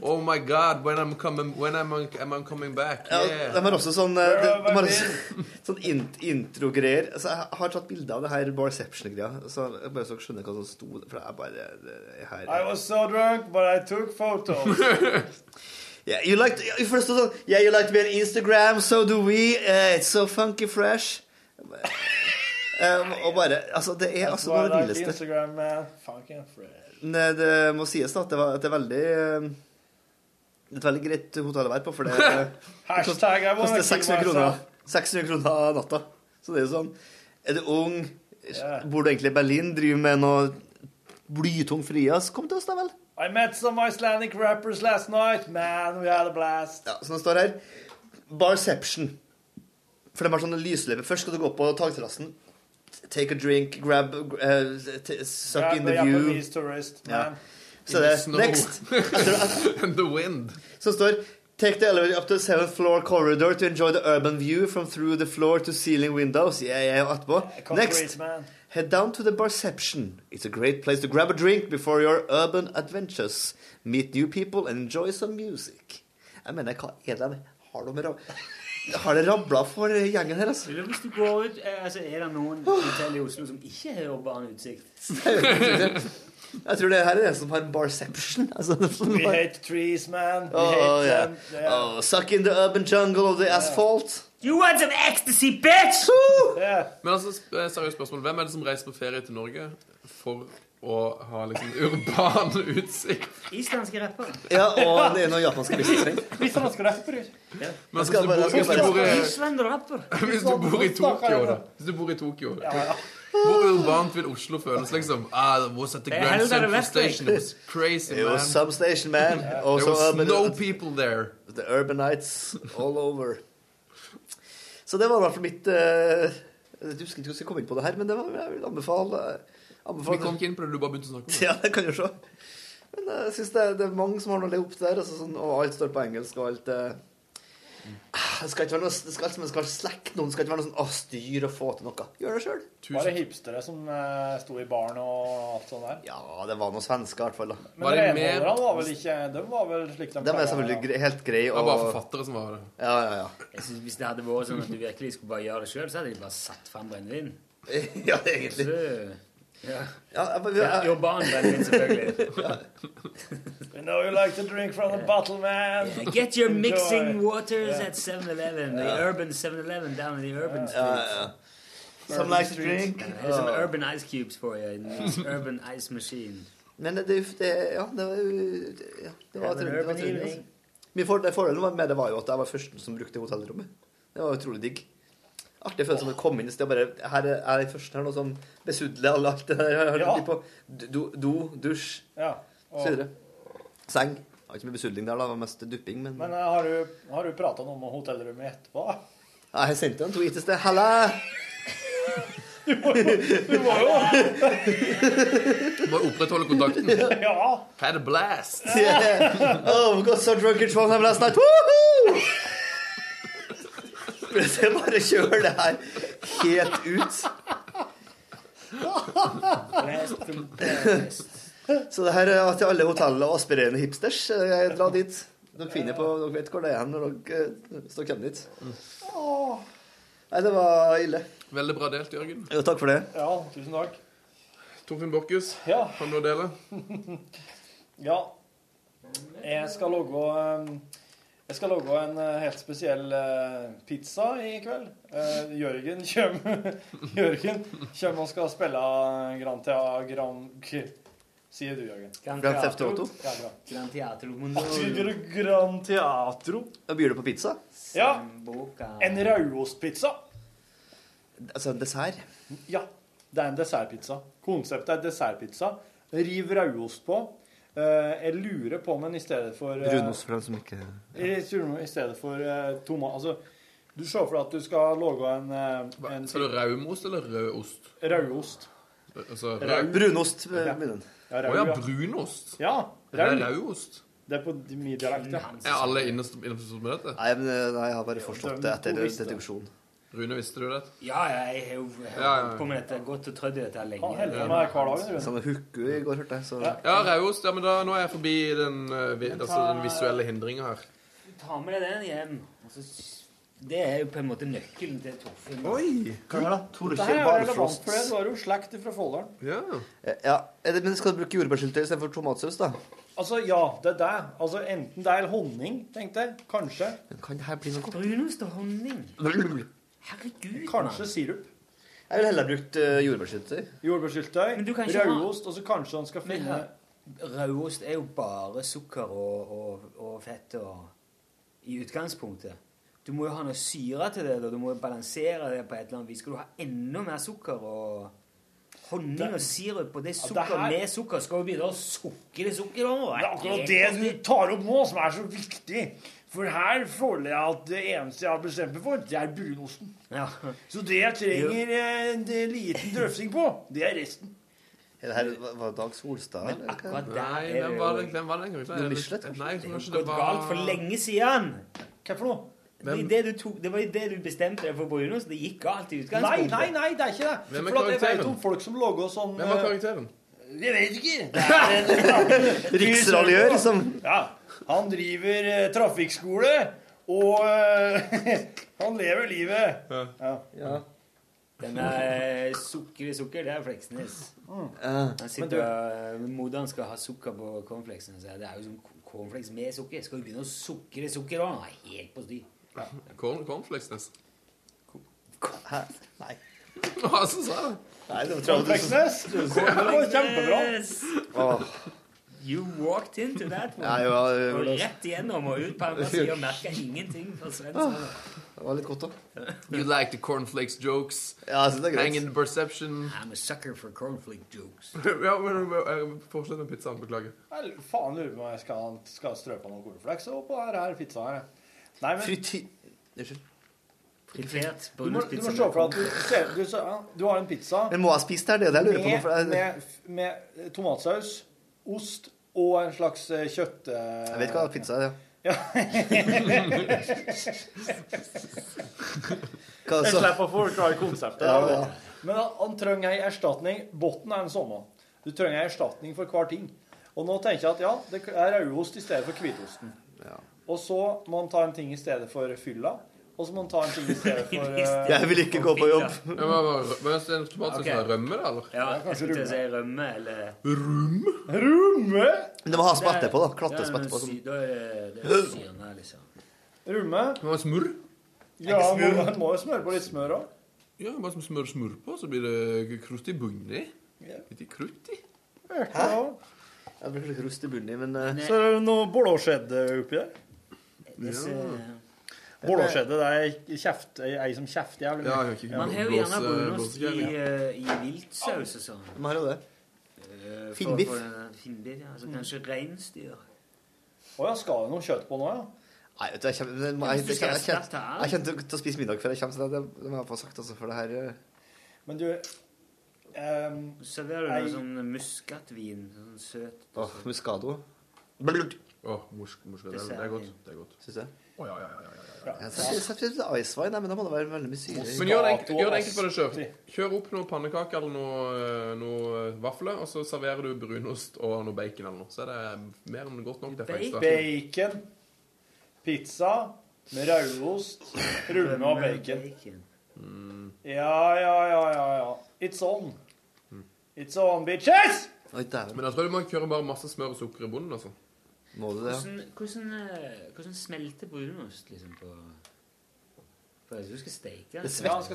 Speaker 11: Oh my god, when I'm coming, when I'm, am I coming back.
Speaker 10: Ja,
Speaker 11: Yeah.
Speaker 10: de har også sånn eh, de, de har også, sånn int, introgreier. Altså, jeg har tatt bilde av det her Barception-greia, så jeg bare så dere skjønner hva som sto der, For det er bare det, det her
Speaker 3: I was so drunk, but I took photos.
Speaker 10: [LAUGHS] yeah, you like to, for det står sånn Yeah, you like to be on Instagram, so do we. eh, it's so funky fresh. [LAUGHS] Eh, og bare Altså, det er
Speaker 3: That's
Speaker 10: altså
Speaker 3: why
Speaker 10: noe
Speaker 3: I
Speaker 10: av det
Speaker 3: like
Speaker 10: villeste.
Speaker 3: Instagram, man. Fucking fresh.
Speaker 10: Det, eh, det må sies da at det, var, at det er veldig eh, Det er et veldig greit hotell å være på, for det det kost-
Speaker 3: [LAUGHS] Hashtag I wanna
Speaker 10: koster
Speaker 3: kill
Speaker 10: 600
Speaker 3: myself.
Speaker 10: kroner, 600 kroner natta. Så det er jo sånn Er du ung,
Speaker 3: Yeah.
Speaker 10: bor du egentlig i Berlin, driver med noe blytung frijazz, kom til oss, da vel.
Speaker 3: I met some Icelandic rappers last night. Man, we had a blast.
Speaker 10: Ja, så nå står det her Barception. For de har sånne lysløyper. Først skal du gå opp på takterrassen. Take a drink, grab eh, t Suck
Speaker 3: Grab
Speaker 10: in
Speaker 3: the
Speaker 10: the view.
Speaker 3: Japanese tourist,
Speaker 10: Ja.
Speaker 3: man.
Speaker 10: Så det er next.
Speaker 11: [LAUGHS] the wind.
Speaker 10: Som står Take the elevator up to the seventh floor corridor to enjoy the urban view from through the floor to ceiling windows. Ja, ja, og etterpå. Next.
Speaker 3: Concrete, man.
Speaker 10: Head down to the Barception. It's a great place to grab a drink before your urban adventures. Meet new people and enjoy some music. Jeg mener, hva er det Har de rab... Har det rabla for gjengen her, altså?
Speaker 12: Eller hvis du går ut, eh, altså Er det noen hotell i Oslo som ikke har urban utsikt?
Speaker 10: Jeg tror det her er det som har Barception. [LAUGHS] Altså, det som
Speaker 3: We
Speaker 10: har...
Speaker 3: hate trees, man. We
Speaker 10: Oh,
Speaker 3: hate
Speaker 10: yeah.
Speaker 3: them.
Speaker 10: oh, suck in the urban jungle of the asphalt.
Speaker 12: You want some ecstasy, bitch!
Speaker 11: Men altså, sp- eh, seriøst spørsmål. Hvem er det som reiser på ferie til Norge for å ha liksom [LAUGHS] urban utsikt?
Speaker 12: Islandske rappere.
Speaker 10: Ja, og det er noen japanske businessmenn.
Speaker 3: Hvis han skal rapper.
Speaker 11: Men
Speaker 10: Jeg skal
Speaker 11: altså,
Speaker 10: bare- jeg
Speaker 11: hvis,
Speaker 10: skal
Speaker 11: du bor,
Speaker 10: bare-
Speaker 11: hvis, du bor i, [LAUGHS] hvis du bor i Tokyo, da Hvis du bor i Tokyo Hvor urbant vil Oslo føles, liksom? Ah, it was at the
Speaker 10: Det er
Speaker 11: Grand
Speaker 10: heller
Speaker 11: Central
Speaker 10: vekk, jeg.
Speaker 11: Station. It was crazy,
Speaker 10: It
Speaker 11: man.
Speaker 10: was substation, man. Also
Speaker 11: There was
Speaker 10: urban-
Speaker 11: no people there.
Speaker 10: The urbanites all over. Så det var i hvert fall mitt eh, Jeg husker ikke hvordan jeg kom inn på det her, men det var, jeg vil anbefale, anbefale
Speaker 11: Vi kom ikke inn på det, du bare begynte å snakke om det.
Speaker 10: Ja, det kan du se. Men eh, jeg syns det, er- det er mange som har noe å leve opp til der, altså, sånn, og alt står på engelsk, og alt eh, ah, det skal ikke være noe, det skal, ikke- man skal ikke slekke noen, det skal ikke være noe sånn, å, styr og få til noe. Gjør det sjøl.
Speaker 3: Var det hipstere som eh, sto i baren og alt sånt der?
Speaker 10: Ja, det var noen svensker i hvert fall. da.
Speaker 3: Men renholderne var vel ikke De var vel slik de
Speaker 10: De er
Speaker 3: pleier,
Speaker 10: selvfølgelig gre helt greie.
Speaker 11: Det var bare forfattere som var det.
Speaker 10: Ja, ja, ja.
Speaker 12: Jeg synes Hvis det hadde vært sånn at du virkelig skulle bare gjøre det sjøl, så hadde de bare satt fram brennevin.
Speaker 10: [LAUGHS] ja, egentlig.
Speaker 12: Ja.
Speaker 10: Ja, men vi-
Speaker 12: ja, urban brennevin, selvfølgelig.
Speaker 3: We know you like to drink from the bottle, man.
Speaker 12: Get your
Speaker 3: Enjoy.
Speaker 12: mixing waters
Speaker 3: Yeah.
Speaker 12: at 7-Eleven. The
Speaker 3: Ja.
Speaker 12: urban 7-Eleven down in the urban street.
Speaker 10: ja, ja. Some
Speaker 12: Urban
Speaker 10: like to
Speaker 12: streets.
Speaker 10: drink.
Speaker 12: Here's some
Speaker 10: Ja.
Speaker 12: urban ice cubes for you in this urban ice machine.
Speaker 10: Men det, det, det- ja, det var jo det- ja, det
Speaker 12: Have
Speaker 10: var
Speaker 12: an
Speaker 10: trønder. det var
Speaker 12: urban
Speaker 10: trønder,
Speaker 12: evening.
Speaker 10: altså. Min for- Fordelen med det var jo at jeg var førsten som brukte hotellrommet. Det var utrolig digg. Artig følelse av å komme inn et sted og bare Her er jeg den første her nå som besudler alle alt det der. Jeg har
Speaker 3: Ja.
Speaker 10: ja. på do, do, dusj,
Speaker 3: Ja.
Speaker 10: så videre. Seng. Det var ikke mye besudling der, da. Det var mest dupping, men,
Speaker 3: Men eh, har du, har du prata noe om hotellrommet etterpå?
Speaker 10: Nei, Jeg sendte en tweet i sted. Halla!
Speaker 3: Du må jo
Speaker 11: Må opprettholde
Speaker 10: [LAUGHS]
Speaker 11: kontakten.
Speaker 3: Ja.
Speaker 11: Had a blast.
Speaker 10: Yeah. Oh, we got so drunk in Trondheim last night. Woohoo! Men jeg bare kjører det her helt ut. Så det her er til alle hotell og aspirerende hipsters. eh, Jeg drar dit. Dere finner på, dere vet hvor det er når dere, eh, hvis dere kommer dit.
Speaker 3: Mm.
Speaker 10: Nei, det var ille.
Speaker 11: Veldig bra delt, Jørgen.
Speaker 10: Jo, takk for det.
Speaker 3: Ja, tusen takk.
Speaker 11: Torfinn Borchhus, kan du dele?
Speaker 3: Ja. Jeg skal lage eh, Jeg skal lage en eh, helt spesiell eh, pizza i kveld. Eh, Jørgen kommer [LAUGHS] Jørgen kommer og skal spille Grand Thea Grand K... Sier du, Jørgen.
Speaker 10: Grand Theft Auto.
Speaker 3: Ja, bra.
Speaker 2: Gran Teatro
Speaker 3: At du gjør Grand Teatro.
Speaker 10: Da byr du på pizza.
Speaker 3: Ja. En raudostpizza.
Speaker 10: Altså dessert.
Speaker 3: Ja. Det er en dessertpizza. Konseptet er dessertpizza. Riv raudost på. Eh, Jeg lurer på, men i stedet for eh,
Speaker 10: Runos for dem som ikke
Speaker 3: I, sur- I stedet for uh, tomat... Altså, du ser for deg at du skal lage en, eh, en
Speaker 11: Sa du raumost eller rødost?
Speaker 3: Raudost.
Speaker 11: Altså,
Speaker 3: Rau-
Speaker 10: Brunost, eh,
Speaker 3: Ja.
Speaker 10: mener han.
Speaker 3: Ja,
Speaker 11: Å ja, brunost.
Speaker 3: Ja,
Speaker 11: Det er
Speaker 3: rau.
Speaker 11: rauost.
Speaker 3: Det er på d- min dialekt, ja.
Speaker 11: Er alle innforstått med dette?
Speaker 10: Nei, men eh, nei, jeg har bare forstått det etter deduksjon.
Speaker 11: Rune, visste du det?
Speaker 2: Ja, ja, jeg har jo jeg har
Speaker 11: Ja, ja, ja.
Speaker 2: holdt på med dette godt og trødd i dette her lenge.
Speaker 3: Han holder på med det hver dag, Rune.
Speaker 10: Sånn hooku i går, hørte jeg. Så
Speaker 11: Ja, rauost. Ja, men da, nå er jeg forbi den, eh, vi, altså, den visuelle hindringa her.
Speaker 2: Du tar med deg den hjem. og så s- Det er jo på en måte nøkkelen til Torfinn.
Speaker 11: Oi!
Speaker 10: Hva er det? Tore
Speaker 3: Dette
Speaker 10: Kjell
Speaker 3: her er relevant,
Speaker 10: Barfrost.
Speaker 3: for det var jo slekt fra Folldalen.
Speaker 11: Ja.
Speaker 10: Eh, ja. er det- Men skal du bruke jordbærsyltetøy istedenfor tomatsaus, da?
Speaker 3: Altså, ja, det er det. Altså, enten det er honning, tenkte jeg. Kanskje.
Speaker 10: Men kan det her bli noe godt?
Speaker 2: Brunost og honning.
Speaker 10: Jeg
Speaker 2: Herregud,
Speaker 3: Kanskje sirup.
Speaker 10: ville heller brukt uh, jordbærsyltetøy.
Speaker 3: Jordbærsyltetøy.
Speaker 2: Men du kan ikke ha-
Speaker 3: Raudost. Og så kanskje han skal
Speaker 2: Men
Speaker 3: finne
Speaker 2: her- Rødost er jo bare sukker og, og, og fett og, i utgangspunktet. Du må jo ha noe syre til det, da. du må jo balansere det på et eller annet vis. Skal du ha enda mer sukker og honning og sirup og det
Speaker 3: det
Speaker 2: sukker
Speaker 3: her-
Speaker 2: med sukker, skal du begynne å sukke det sukkeret over?
Speaker 3: Det er akkurat det du tar opp nå, som er så viktig. For her føler jeg at det eneste jeg har bestemt meg for, det er brunosten.
Speaker 2: Ja.
Speaker 3: Så det jeg trenger eh, en liten drøfting på, det er resten.
Speaker 10: Er det her var- var Dag Solstad? eller hva?
Speaker 11: Nei, hvem var det? Hvem var det? egentlig?
Speaker 10: Noe Michelet, kanskje?
Speaker 11: Nei, jeg tror
Speaker 2: Det
Speaker 11: kanskje
Speaker 2: har
Speaker 11: det
Speaker 2: gått
Speaker 11: var
Speaker 2: galt for lenge siden.
Speaker 3: Hva for noe?
Speaker 2: Det,
Speaker 11: Hvem-
Speaker 2: det, du tok, det var jo det du bestemte deg for på Brunos. Det gikk galt i
Speaker 3: Nei,
Speaker 2: utgangspunktet.
Speaker 3: nei, nei, det er ikke det.
Speaker 11: Hvem er
Speaker 3: For at jeg vet
Speaker 11: karakteren?
Speaker 3: om folk som logger sånn
Speaker 11: Hvem var
Speaker 3: eh,
Speaker 11: karakteren?
Speaker 3: Jeg vet ikke. Det er en-
Speaker 10: Riksraljør som
Speaker 3: Ja. Han driver eh, trafikkskole, og eh, [LAUGHS] han lever livet. Ja.
Speaker 2: Denne eh, sukker i sukker, det er Fleksnes.
Speaker 10: Eh.
Speaker 2: Han sitter og Moderen skal ha sukker på cornflakesen. Så det er jo som cornflakes med sukker. Skal du begynne å sukre sukker òg? Nei, helt på sti.
Speaker 11: Corn- Cornflakes, nesten.
Speaker 10: Hæ? Nei.
Speaker 11: Hva så sa jeg?
Speaker 10: Nei, det var
Speaker 3: Fleksnes, du, så- det var kjempebra.
Speaker 10: Åh,
Speaker 2: You walked into that one.
Speaker 10: Ja, jeg var- eh, jeg
Speaker 2: og
Speaker 10: var-
Speaker 2: rett igjennom og ut på andre sida merka ingenting fra svenskene.
Speaker 10: det var litt godt, da.
Speaker 11: You like the cornflakes jokes.
Speaker 10: Ja, jeg synes det er greit.
Speaker 11: Hang in the perception.
Speaker 2: I'm a sucker for cornflake jokes.
Speaker 11: ja, men eh, Fortsett med pizzaen. Beklager.
Speaker 3: Jeg faen lurer på om jeg skal, skal strø på noen cornflakes og på her, her pizza her. Nei, men
Speaker 10: Frity... Unnskyld.
Speaker 2: Fritert
Speaker 3: du må, du må se for deg at du, ser, du, ser, ja, du har en pizza
Speaker 10: Men må jeg spise det? her? Det er det jeg lurer på. nå,
Speaker 3: med,
Speaker 10: For det er,
Speaker 3: med, med tomatsaus, ost og en slags eh, kjøtt... eh,
Speaker 10: jeg vet ikke hva pizza er. Ja.
Speaker 3: Ja.
Speaker 10: [LAUGHS] Hva er
Speaker 3: Jeg
Speaker 10: det så?
Speaker 3: slipper å forklare konseptet.
Speaker 10: Ja, ja.
Speaker 3: Men han, han trenger ei erstatning. Botten er den samme. Du trenger ei erstatning for hver ting. Og nå tenker jeg at ja, det er rødost i stedet for hvitosten. Og så må han ta en ting i stedet for fylla. Og så må han ta en ting i stedet for eh,
Speaker 10: Jeg vil ikke gå på jobb.
Speaker 11: Ja, men, men, men, er det tomatsaus med rømme, da? eller?
Speaker 2: Ja, jeg skulle til å si rømme eller
Speaker 3: Rumme!
Speaker 10: Men det må ha som etterpå, da.
Speaker 2: Det er
Speaker 10: Klattes på sånn.
Speaker 2: noe sy-
Speaker 10: etterpå. Som...
Speaker 2: Da er det- det er syrene, liksom.
Speaker 3: Rumme.
Speaker 11: Hva med smør?
Speaker 3: Ja, må, han må jo smøre på litt smør òg.
Speaker 11: Ja, bare som smør smør på, så blir det krutt i bunnen.
Speaker 3: Ja.
Speaker 11: Litt krutt i.
Speaker 10: Jeg blir litt rust i bunnen i, men eh,
Speaker 3: Så er det noe blåskjedd oppi der.
Speaker 2: disse
Speaker 3: Blåskjedde, det er kjeft, ei som kjefter jævlig
Speaker 2: Ja,
Speaker 3: mye.
Speaker 2: Man har jo gjerne brunost i, eh, i viltsaus og sånn.
Speaker 10: Man har jo det.
Speaker 2: Eh, for-
Speaker 3: Finnbiff.
Speaker 2: for, eh, Finnbiff, ja. Altså kanskje reinsdyr.
Speaker 3: Å ja, skal det noe kjøtt på nå, ja?
Speaker 10: Nei, vet du, jeg kommer jeg, jeg, jeg, jeg, jeg, jeg kommer til- til å spise middag før jeg kommer, så det, det må jeg få sagt, altså, for det her eh.
Speaker 3: Men du
Speaker 2: Serverer du
Speaker 3: ei-
Speaker 2: noe sånn muskatvin? Sånn søt
Speaker 10: Åh, muscado. Blurt.
Speaker 11: Åh, musk, musk, det, er- det er godt. Det er godt.
Speaker 10: Syns jeg.
Speaker 11: Å, ja, ja, ja, ja, ja, ja.
Speaker 10: Jeg setter- setter litt ice wine, nei, men da må det være veldig mye syre.
Speaker 11: Men gjør det, enkelt, gjør det enkelt på deg sjøl. Kjør opp noen pannekaker eller noe, eh, noe vafler, og så serverer du brunost og noe bacon eller noe. Så er det mer enn godt nok. Det er faktisk det.
Speaker 3: Bacon, pizza med rødost, rullende og bacon.
Speaker 11: Mm.
Speaker 3: Ja, ja, ja, ja, ja. It's on. It's on, bitches!
Speaker 11: Men jeg tror du må kjøre bare masse smør og sukker i bunnen, altså.
Speaker 10: Må du
Speaker 2: Hvordan, hvordan, eh, hvordan smelter brunost liksom på For jeg tror du skal steke den.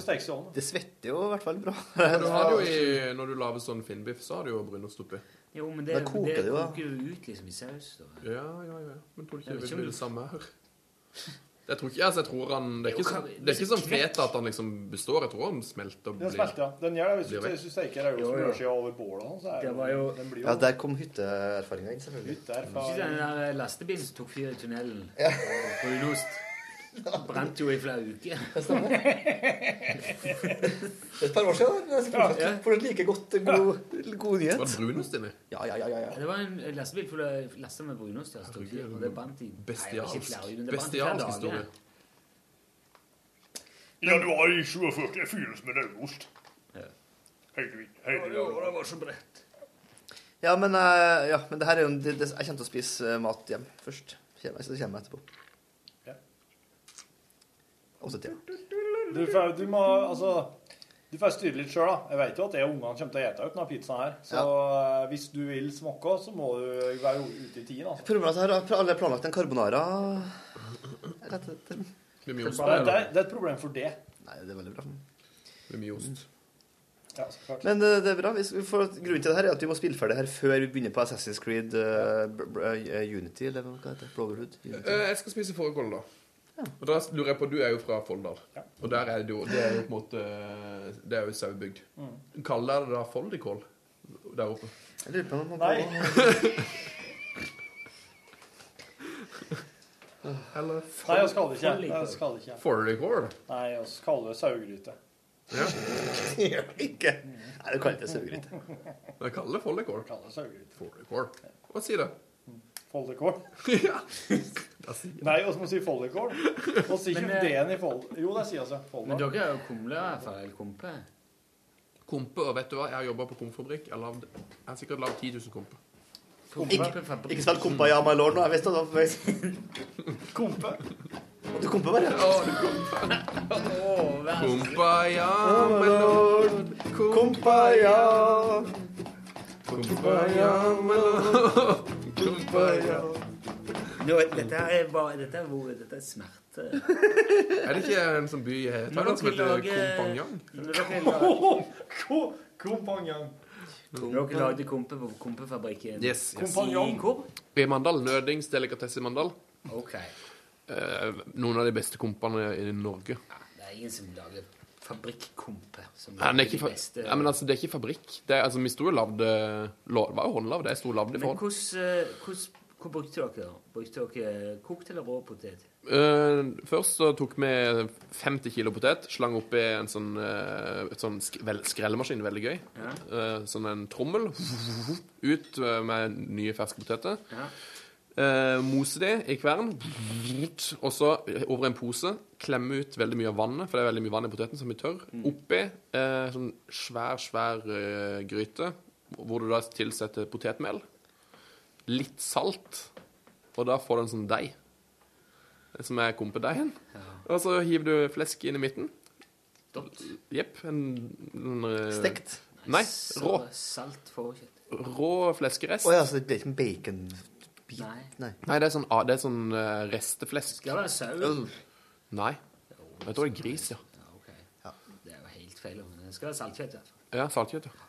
Speaker 3: stekes i ovnen.
Speaker 10: Det svetter jo i hvert fall bra.
Speaker 11: Men du har det jo i, når du lager sånn finnbiff, så har du jo brunost oppi.
Speaker 2: Jo, men det,
Speaker 10: Da koker
Speaker 2: det
Speaker 10: det jo, da.
Speaker 2: koker jo ut liksom i saus. da.
Speaker 11: Ja, ja, ja. Men tror du
Speaker 2: Jeg
Speaker 11: ikke
Speaker 2: vet
Speaker 11: det
Speaker 2: ikke om du-
Speaker 11: vil bli det samme her? Jeg tror ikke, altså, jeg tror han, Det er ikke, så, det er ikke sånn feta at han liksom består. Jeg tror han smelter og
Speaker 3: Den
Speaker 11: blir
Speaker 3: smelter, ja. Den gjør det
Speaker 11: blir
Speaker 3: hvis du,
Speaker 11: vekk.
Speaker 3: hvis du steker rødost med
Speaker 11: Jo, jo.
Speaker 3: brødskiva over bålet. og sånn, Så er
Speaker 2: Det var jo-
Speaker 3: den blir jo
Speaker 10: Ja, der kom hytteerfaringa inn, selvfølgelig.
Speaker 2: Ikke den der lastebilen som tok fyr i tunnelen og brunost. Brant jo i flere uker.
Speaker 10: Et par år siden, da.
Speaker 2: Ja.
Speaker 10: Fortsatt, fortsatt like godt eh, god, god nyhet.
Speaker 11: Var det brunost inni?
Speaker 10: Ja, ja, ja. ja, ja.
Speaker 2: Det var en lastebil full av lasta med brunost. Ja, som tok fyr, og det brant i
Speaker 11: Bestialsk.
Speaker 2: Nei, ikke flere, men det brant i flere
Speaker 11: Bestialsk
Speaker 2: dager.
Speaker 11: historie.
Speaker 3: Januar i 47 fylles med rødost. Heldigvis.
Speaker 2: det var så bredt.
Speaker 10: Ja, men, eh, ja, men det her er jo en- det, det, Jeg kommer til å spise eh, mat hjem først. Kjenner jeg, så kommer jeg etterpå.
Speaker 3: Ja.
Speaker 10: Og så til.
Speaker 3: Du får, du må, altså, du får styre litt sjøl, da. Jeg vet jo at det ungene kommer til å ete ut denne pizzaen her. Så eh, hvis du vil smokke, så må du være ute i tiden. Altså.
Speaker 10: Problemet er at jeg har alle planlagt en carbonara rett etter.
Speaker 11: Blir
Speaker 3: Det, er, det er et problem for det.
Speaker 10: Nei, det er veldig bra.
Speaker 11: Blir mye ost.
Speaker 3: Ja, så klart.
Speaker 10: Men eh, det er bra. Vi skal, for, at grunnen til det her er at vi må spille ferdig her før vi begynner på Assassin's Creed eh, br- br- eh, Unity, eller hva heter det? Brotherhood?
Speaker 2: Mm.
Speaker 10: Unity.
Speaker 11: Eh, Jeg skal spise fårikål, da. Og da lurer jeg på, Du er jo fra Folldal. Og der er det jo det er jo på en måte Det er jo sauebygd.
Speaker 2: Mm.
Speaker 11: Kaller dere det da foldikål der oppe?
Speaker 10: Jeg lurer på om man
Speaker 3: Nei.
Speaker 11: Eller
Speaker 3: Nei, oss kaller det ikke. Nei, oss kaller det ikke.
Speaker 11: Foldikål?
Speaker 3: Nei, oss kaller det sauegryte.
Speaker 11: Ja.
Speaker 10: Gjør [LAUGHS] det ikke. Nei, du kaller det sauegryte.
Speaker 11: Jeg kaller det foldikål.
Speaker 3: Kaller det sauegryte.
Speaker 11: Foldikål. Hva sier det?
Speaker 3: Foldekål.
Speaker 11: ja.
Speaker 3: Nei, oss må si foldekål. Oss sier
Speaker 2: Men,
Speaker 3: ikke
Speaker 2: eh,
Speaker 3: D-en i fold... Jo, det sier altså
Speaker 2: Men
Speaker 3: foldekål.
Speaker 2: dere er jo kumler, i hvert fall. Eller kompe.
Speaker 11: Kompe, og vet du hva? Jeg har jobba på komfabrikk. Jeg, lagde- jeg har sikkert lagd 10 000 komper.
Speaker 10: Ikke, ikke spill kompa ja, my lord nå. Jeg visste det var på vei.
Speaker 3: Kompe?
Speaker 10: Du kompe bare?
Speaker 11: Kompa ja,
Speaker 10: my lord. Kompa ja.
Speaker 11: Kompa ja, my lord. Kompa ja.
Speaker 2: Nå, dette er bare Dette er, hvor- dette er smerte.
Speaker 11: [LAUGHS] Er det ikke en sånn by i Thailand som heter Kompangyang?
Speaker 2: Når dere lager-
Speaker 3: Kompanjong.
Speaker 2: Når dere lagde kompe på kompefabrikken
Speaker 11: Yes.
Speaker 2: i hvor?
Speaker 11: I Mandal. Nødings delikatesse i Mandal.
Speaker 2: Ok.
Speaker 11: Eh, noen av de beste kompene i Norge.
Speaker 2: Det er ingen som lager fabrikkompe. Som
Speaker 11: Nei, men det er
Speaker 2: lager de
Speaker 11: ikke, fa
Speaker 2: beste-
Speaker 11: Nei, men altså, det er ikke fabrikk. Det er, altså, vi sto og lagde lo- Det var jo håndlagd. Jeg sto og lagde
Speaker 2: Men
Speaker 11: for hånd.
Speaker 2: hvordan, eh, hvordan hvor brukte dere det? Brukte dere kokt eller rå potet?
Speaker 11: Eh, først så tok vi 50 kilo potet, slang oppi en sånn, eh, et sånn sk vel skrellemaskin, veldig gøy. Eh, sånn en trommel. Ut eh, med nye ferske poteter. Eh, mose de i kvern, og så over en pose. Klemme ut veldig mye av vannet, for det er veldig mye vann i poteten som blir tørr.
Speaker 10: Mm.
Speaker 11: Oppi eh, sånn svær, svær eh, gryte, hvor du da tilsetter potetmel. Litt salt, og da får du en sånn deig som er kompedeigen. Og så hiver du flesk inn i midten. Jepp. En, en, eh,
Speaker 10: Stekt?
Speaker 11: Nei, rå.
Speaker 2: Salt fårekjøtt.
Speaker 11: Rå fleskerest.
Speaker 10: Å ja, så det blir ikke en baconbit?
Speaker 2: Nei.
Speaker 10: Nei.
Speaker 11: Nei, det er sånn, ah, det er sånn eh, resteflesk.
Speaker 2: Skal det være sau?
Speaker 11: Nei. Jeg tror det er gris, ja.
Speaker 2: Det er jo helt feil. men Det skal være saltkjøtt. i hvert fall.
Speaker 11: Ja, saltkjøtt, ja.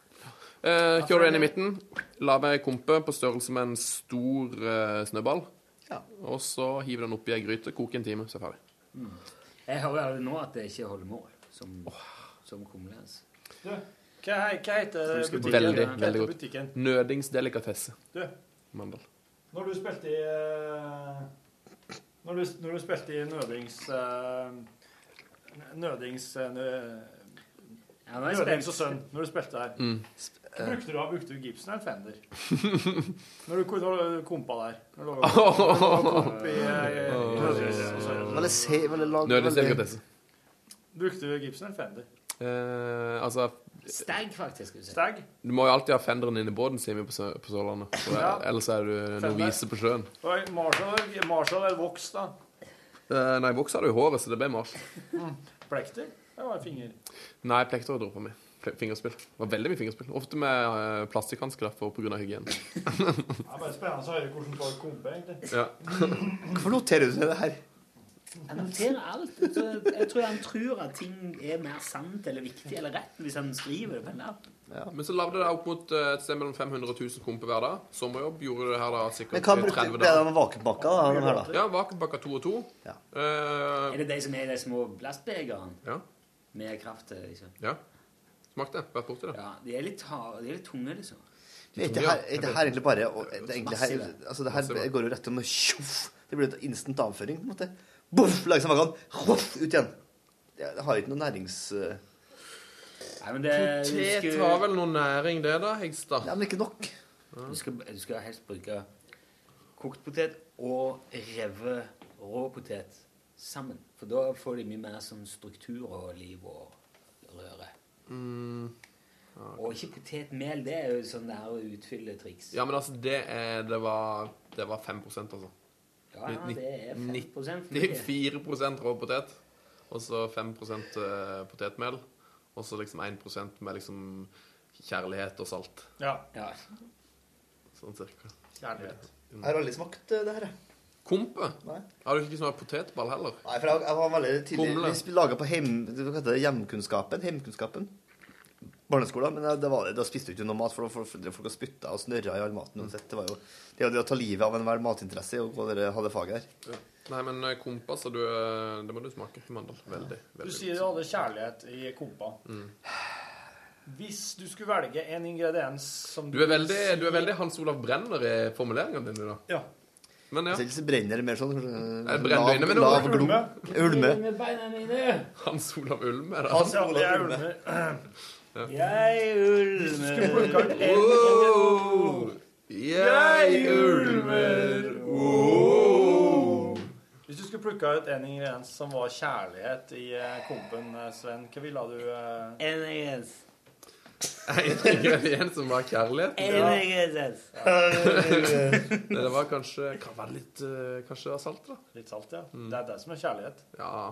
Speaker 11: Eh, kjører du inn i midten, la meg kompe på størrelse med en stor eh, snøball. Og så hiver den oppi ei gryte, koker en time, så er det ferdig.
Speaker 2: Mm. Jeg hører allerede nå at det ikke holder mål som, som kumlens.
Speaker 3: Du, hva, he- hva heter butikken?
Speaker 11: Veldig, veldig
Speaker 3: Hva heter
Speaker 11: godt.
Speaker 3: butikken?
Speaker 11: Nødingsdelikatesse.
Speaker 3: Du,
Speaker 11: Mandel.
Speaker 3: når du spilte i eh, når, du, når du spilte i Nødings... eh, Nødings... eh, Nø,
Speaker 2: nå er jeg spent.
Speaker 3: Nødings og sønn, når du spilte her.
Speaker 11: Mm.
Speaker 3: Hva Brukte du, da? brukte du Gibson eller Fender? Når du, ko- når du kompa der. Når du, når du komp i, eh, Nødings og sønn.
Speaker 10: Veldig se- veldig lag-
Speaker 11: Nødingsdelikatesse.
Speaker 3: Brukte du Gibson eller Fender?
Speaker 11: Eh, altså
Speaker 2: Stag, faktisk. skulle jeg si.
Speaker 3: Stag?
Speaker 11: Du må jo alltid ha fenderen inne i båten, sier vi på, Sø- på Sørlandet. For
Speaker 3: Ja.
Speaker 11: Ellers er du
Speaker 3: Fender.
Speaker 11: novise på sjøen.
Speaker 3: Oi, Marshall, Marshall eller Vox, da?
Speaker 11: Eh, nei, Vox hadde jo håret, så det ble mars.
Speaker 3: Plekter? Det var en finger.
Speaker 11: Nei, plekter dro på meg. Ple- Fingerspill. Det var veldig mye fingerspill. Ofte med uh, plastikkhansker derfor pga. hygiene.
Speaker 3: Det er bare spennende å høre hvordan folk komper, egentlig.
Speaker 11: Ja.
Speaker 10: Hvorfor noterer du deg det her?
Speaker 2: Jeg noterer alt. Jeg tror- Jeg tror han tror at ting er mer sant eller viktig eller rett hvis han skriver det på en lapp.
Speaker 11: Men så lagde det opp mot eh, et sted mellom 500 og 1000 komper hver dag. Sommerjobb gjorde det her da
Speaker 10: Men
Speaker 11: sikkert
Speaker 10: hva
Speaker 11: i
Speaker 10: brukte
Speaker 11: 30
Speaker 10: ble det med vakuumpakka, da? De her, da?
Speaker 11: Ja, vakuumpakka to Eh, og to.
Speaker 2: Er det de som er i de små plastbegerne? Med kraft til, liksom?
Speaker 11: Ja. Smakte. Vært borti det.
Speaker 2: Ja, de er litt, harde, de er litt tunge, liksom.
Speaker 10: Men Er ikke her, er ikke her egentlig bare og det, er egentlig her,
Speaker 2: Massive.
Speaker 10: altså, det her går jo rett om og tjoff! Det blir jo instant avføring. på en måte. Boff! Lage seg magen. Hoff! Ut igjen. Det det har jo ikke noe nærings... Nei,
Speaker 2: men
Speaker 11: Potet har vel noe næring, det da, Hegstad?
Speaker 10: Ja, men ikke nok.
Speaker 2: Du skal, du skal helst bruke kokt potet og revet rå potet sammen. For da får de mye mer sånn struktur og liv og røre. Og ikke potetmel. Det er jo sånn der å utfylle triks.
Speaker 11: Ja, men altså, det, er, det, var, det var 5 altså.
Speaker 2: Ja, ja, det er 5% for mye.
Speaker 11: 94 rå potet, og så 5 eh, potetmel, og så liksom 1 med liksom kjærlighet og salt.
Speaker 3: Ja.
Speaker 11: Sånn cirka.
Speaker 3: Kjærlighet.
Speaker 10: Jeg har aldri smakt eh, det her, jeg.
Speaker 11: Kompe?
Speaker 10: Nei.
Speaker 11: Har du ikke smakt potetball heller?
Speaker 10: Nei, for jeg, jeg var veldig tidlig
Speaker 11: Humle.
Speaker 10: Vi laga på heim, hva heter det, hjemkunnskapen, heimkunnskapen. Barneskolen. Men eh, det var, det- da spiste du ikke noe mat, for da for, for, folk har spytta og snørra i all maten uansett. Det var jo det, er jo det å ta livet av enhver matinteresse og gå dere hadde faget her.
Speaker 11: Ja. Nei, men eh, kompe, altså, du, eh, det må du smake, Mandal. Veldig.
Speaker 3: Du
Speaker 11: veldig.
Speaker 3: sier du hadde kjærlighet i kompa.
Speaker 11: Mm.
Speaker 3: Hvis du skulle velge en ingrediens som
Speaker 11: Du er veldig, du er veldig Hans Olav Brenner i formuleringene dine, da.
Speaker 3: Ja.
Speaker 11: Men ja.
Speaker 10: Selv så brenner det mer sånn
Speaker 11: Er det brennøyne med noe?
Speaker 10: lav glom. Ulme.
Speaker 2: beina mine!
Speaker 11: Hans Olav Ulme, er det?
Speaker 10: Hans Ja, Olav
Speaker 3: jeg
Speaker 10: Ulme.
Speaker 2: Jeg
Speaker 3: ulmer
Speaker 11: Jeg ulmer
Speaker 3: Hvis du skulle plukka ut en ingrediens som var kjærlighet i eh, kompen, eh, Sven, hva ville du eh,
Speaker 2: En ingrediens.
Speaker 11: En ingrediens som var kjærlighet.
Speaker 2: En ingrediens.
Speaker 11: Nei, det var kanskje kan være litt, eh, Kanskje det var salt, da.
Speaker 3: Litt salt, ja. Det er det som er kjærlighet.
Speaker 11: Ja.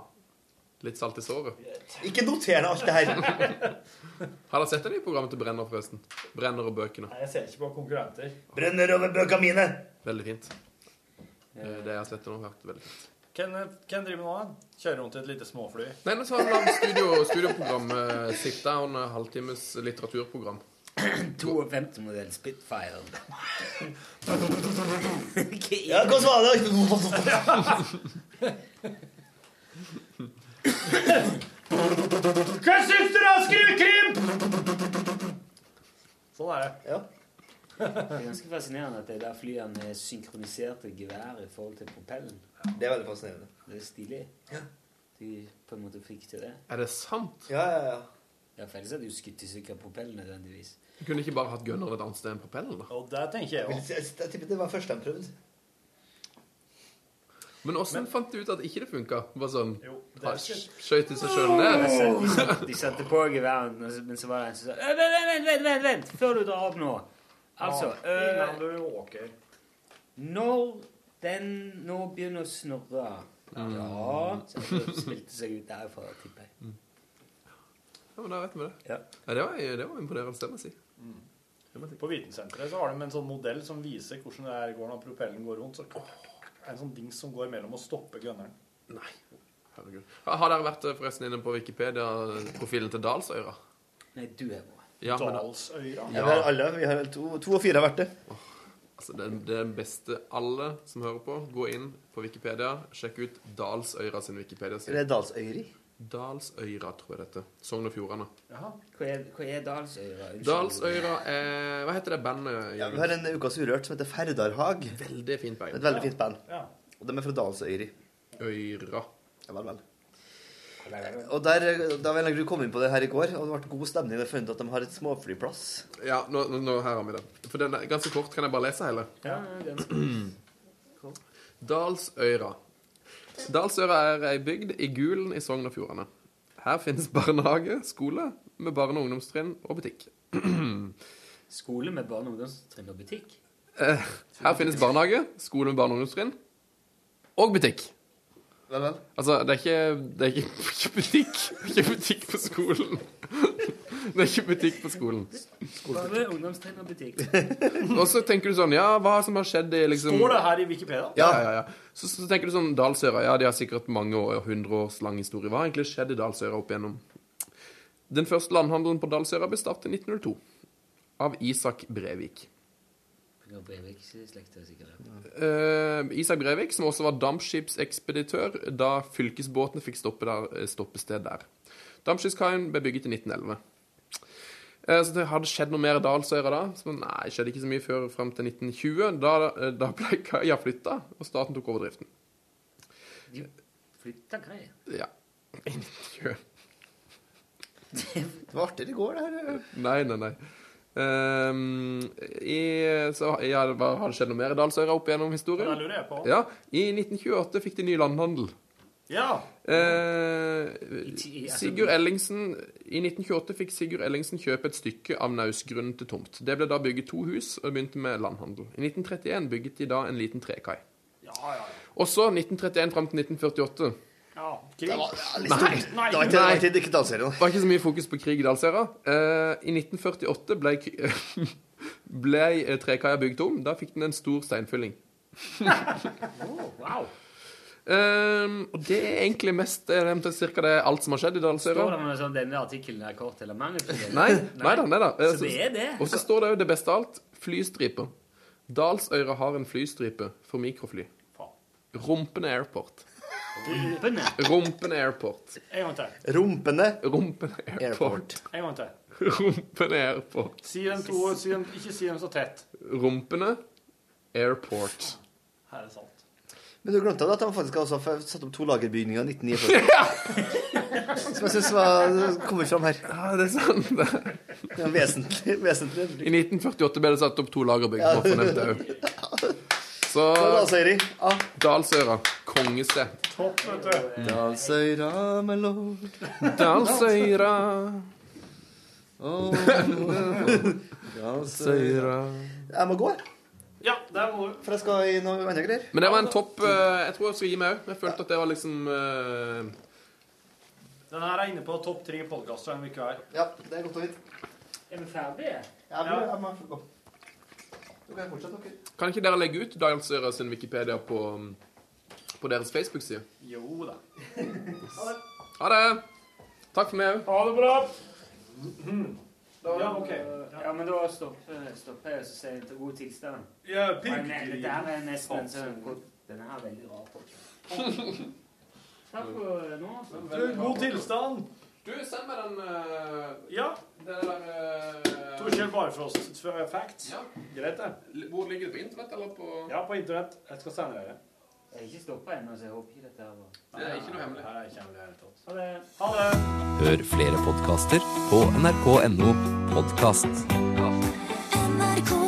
Speaker 11: Litt salt i såret.
Speaker 10: Ikke noter ned alt det her.
Speaker 11: Har dere sett det nye programmet til Brenner, forresten? Brenner og bøkene.
Speaker 3: Nei, jeg ser ikke på konkurrenter.
Speaker 10: Brenner over bøkene mine!
Speaker 11: Veldig fint. Eh, Det det jeg har sett nå, har vært veldig fint.
Speaker 3: Hvem eh, hvem driver med nå? da? Kjører rundt i et lite småfly?
Speaker 11: Nei, nå så har vi lagd studio, studioprogram. eh, Sit down, eh, halvtimes litteraturprogram.
Speaker 2: 52-modell
Speaker 3: [LAUGHS]
Speaker 2: Spitfire.
Speaker 10: Ja, hva var det? [LAUGHS]
Speaker 3: Hva syns dere om skrukrim? Sånn er det.
Speaker 2: Det er ganske fascinerende at de der flyene er synkroniserte gevær i forhold til propellen.
Speaker 10: Det er veldig fascinerende.
Speaker 2: Det er stilig. De på en måte fikk til det.
Speaker 11: Er det sant?
Speaker 10: Ja, ja, ja.
Speaker 2: Ja, for ellers hadde de jo skutt i stykker propellen nødvendigvis.
Speaker 11: Du kunne ikke bare hatt gunner et annet sted enn propellen, da?
Speaker 3: Og det tenker jeg
Speaker 10: Jeg jeg tipper det var første de prøvde.
Speaker 11: Men åssen fant du ut at ikke det funka? Bare sånn
Speaker 2: det
Speaker 11: ha-
Speaker 2: er
Speaker 11: sk-
Speaker 2: shit.
Speaker 11: Skjøt i seg sjøl ned?
Speaker 2: De satte- De satte på geværen, og så- men så var det en som sa «Øh, Vent, vent, vent, vent, vent, før du drar opp nå. Altså
Speaker 3: Ja,
Speaker 2: øh,
Speaker 3: Innan du åker.
Speaker 2: Når den nå begynner å snurre Ja Så det spilte seg ut derfra, tipper jeg.
Speaker 11: Ja, men da vet vi det. Ja, det, var, det var imponerende, det må jeg si.
Speaker 3: På Vitensenteret så har de en sånn modell som viser hvordan det her går når propellen går rundt. Så en sånn dings som går mellom og stopper gunneren.
Speaker 11: Nei. Herregud. Har har dere vært eh, forresten inne på Wikipedia-profilen til Dalsøyra?
Speaker 2: Nei, du er vår.
Speaker 11: Ja, men da-
Speaker 10: Ja.
Speaker 3: Dalsøyra.
Speaker 10: Vi har alle, vi har to, to og fire har vært det.
Speaker 11: Altså, det, er- det er den beste alle som hører på. Gå inn på Wikipedia. Sjekk ut Dalsøyra sin Wikipedia-side.
Speaker 10: Er det Dalsøyri?
Speaker 11: Dalsøyra, tror jeg det heter. Sogn og Fjordane.
Speaker 12: Jaha. Hva er, hva er Dalsøyra? Unnskyld.
Speaker 11: Dalsøyra er Hva heter det bandet?
Speaker 10: Ja, vi har en Ukas Urørt som heter Ferdarhag.
Speaker 11: Veldig fint band.
Speaker 10: Et veldig fint band.
Speaker 13: Ja.
Speaker 10: Og de er fra Dalsøyri.
Speaker 11: Øyra.
Speaker 10: Ja, vel, vel. Og der, da vil jeg komme inn på det her i går, og det ble god stemning. Jeg funnet at de har et småflyplass.
Speaker 11: Ja, nå, nå, nå her har vi det. For den er ganske kort. Kan jeg bare lese hele?
Speaker 12: Ja, ja,
Speaker 11: [CLEARS THROAT] Dalsøyra. Dalsøyra er ei bygd i Gulen i Sogn og Fjordane. Her finnes barnehage, skole med barne- og ungdomstrinn og butikk.
Speaker 12: Skole med barne- og ungdomstrinn og butikk?
Speaker 11: Eh, Her finnes barnehage, skole med barne- og ungdomstrinn og butikk.
Speaker 10: Vel, vel.
Speaker 11: Altså, det er ikke, det er ikke, [LAUGHS] ikke butikk. Det er ikke butikk på skolen. [LAUGHS] Det er ikke butikk på skolen.
Speaker 12: Bare ungdomstrinn og butikk.
Speaker 11: Og så tenker du sånn Ja, hva som har skjedd i
Speaker 13: [LAUGHS]
Speaker 11: liksom
Speaker 13: Står det her i Wikipedia?
Speaker 11: Ja, ja, ja. Så, så tenker du sånn Dalsøra, ja, de har sikkert mange år, hundre års lang historie. Hva har egentlig skjedd i Dalsøra opp igjennom? Den første landhandelen på Dalsøra ble startet i 1902 av Isak Brevik.
Speaker 12: Ja, Brevik-slekta, sikkert.
Speaker 11: Eh, Isak Brevik, som også var dampskipsekspeditør da fylkesbåtene fikk stoppe der, eh, stoppested der. Dampskipskaien ble bygget i 1911. Eh, Så det hadde skjedd noe mer i Dalsøyra da? Så nei, skjedde ikke så mye før frem til 1920. Da, eh, da ble kaia flytta, og staten tok over driften.
Speaker 12: De flytta greier.
Speaker 11: Ja. [LAUGHS] I 1920.
Speaker 10: Det var artigere i går, det her.
Speaker 11: Nei, nei, nei. Ehm, i, så, ja, det var- har det skjedd noe mer i Dalsøyra opp gjennom historien?
Speaker 13: Ja, det lurer jeg på.
Speaker 11: Ja, I 1928 fikk de ny landhandel.
Speaker 13: Ja.
Speaker 11: Eh,
Speaker 13: ti- altså-
Speaker 11: Sigurd Ellingsen I 1928 fikk Sigurd Ellingsen kjøpe et stykke av nausgrunnen til tomt. Det ble da bygget to hus, og begynte med landhandel. I 1931 bygget de da en liten trekai.
Speaker 13: Ja, ja.
Speaker 11: Også 1931 fram til 1948.
Speaker 13: ja.
Speaker 10: Det var- ja, litt
Speaker 11: Nei.
Speaker 10: stort. Det var ikke- det var ikke- det var ikke Dalsøyra.
Speaker 11: Det var ikke så mye fokus på krig i Dalsøyra. Eh, I 1948 ble, k- [LAUGHS] ble eh, trekaia bygd om. Da fikk den en stor steinfylling.
Speaker 13: wow.
Speaker 11: Ehm, og det er egentlig mest eh, det er omtrent cirka det alt som har skjedd i
Speaker 12: Står det
Speaker 11: Dalsøyra.
Speaker 12: noe sånn denne artikkelen er kort eller mangelfull? [LAUGHS]
Speaker 11: Nei, nei da. nei da. Eh,
Speaker 13: Altså,
Speaker 12: Så det er det?
Speaker 11: Og så står det jo det beste av alt flystriper. Dalsøyra har en flystripe for mikrofly. Rumpene Airport.
Speaker 13: Rumpene?
Speaker 11: Rumpene Airport.
Speaker 13: En gang til.
Speaker 10: Rumpene?
Speaker 11: Rumpene Airport.
Speaker 13: En gang til.
Speaker 11: Rumpene Airport.
Speaker 13: Si dem to, si dem, ikke si dem så tett.
Speaker 11: Rumpene Airport.
Speaker 13: Her er salt.
Speaker 10: Men du glemte at de faktisk også har satt opp to lagerbygninger i 1949. [LAUGHS] som jeg syns var- kommer fram her.
Speaker 11: Ja, det er sant.
Speaker 10: Det er en vesentlig, vesentlig
Speaker 11: [LAUGHS] I 1948 ble det satt opp to lagerbygg. bare for å nevne det også. Så Dalsøra. Kongested.
Speaker 13: Topp, vet du.
Speaker 10: Dalsøyra, my lord.
Speaker 11: Dalsøyra.
Speaker 10: Oh, Jeg må gå, jeg.
Speaker 13: Ja, der må du.
Speaker 10: For jeg skal i noe annet greier.
Speaker 11: Men det var en topp eh, Jeg tror jeg skal gi meg òg. Jeg følte at det var liksom eh,
Speaker 13: Den her er inne på topp tre podkaster en uke hver.
Speaker 10: Ja, det er godt å vite.
Speaker 12: Er vi ferdige?
Speaker 10: Ja, men jeg må få gå. Da kan jeg fortsette, dere.
Speaker 11: Kan ikke dere legge ut Dalsøyra sin Wikipedia på, mm, på deres Facebook-side?
Speaker 13: Jo da.
Speaker 11: Ha det! Takk for meg òg.
Speaker 13: Ha det bra.
Speaker 12: Ja,
Speaker 13: ok.
Speaker 12: Ja, men da stopper stopper jeg og sier jeg til god tilstand.
Speaker 13: Ja,
Speaker 12: Men, eh, Dette her er nesten en sånn Den her er veldig rar.
Speaker 13: [LAUGHS]
Speaker 12: podcast. Takk for nå. altså.
Speaker 13: God tilstand.
Speaker 11: Du, send meg den eh,
Speaker 13: Ja.
Speaker 11: Det der
Speaker 13: Torkjell Barfrost facts.
Speaker 11: Ja.
Speaker 13: Greit, det.
Speaker 11: Hvor ligger det på internett, eller på
Speaker 13: Ja, på internett. Jeg skal sende dere.
Speaker 12: Jeg har ikke stoppa ennå, så jeg håper ikke dette her var
Speaker 11: Det er ikke noe hemmelig.
Speaker 13: Her er ikke hemmelig i det hele tatt.
Speaker 12: Ha det.
Speaker 13: Ha det.
Speaker 14: Hør flere podkaster på nrk.no podkast.
Speaker 4: NRK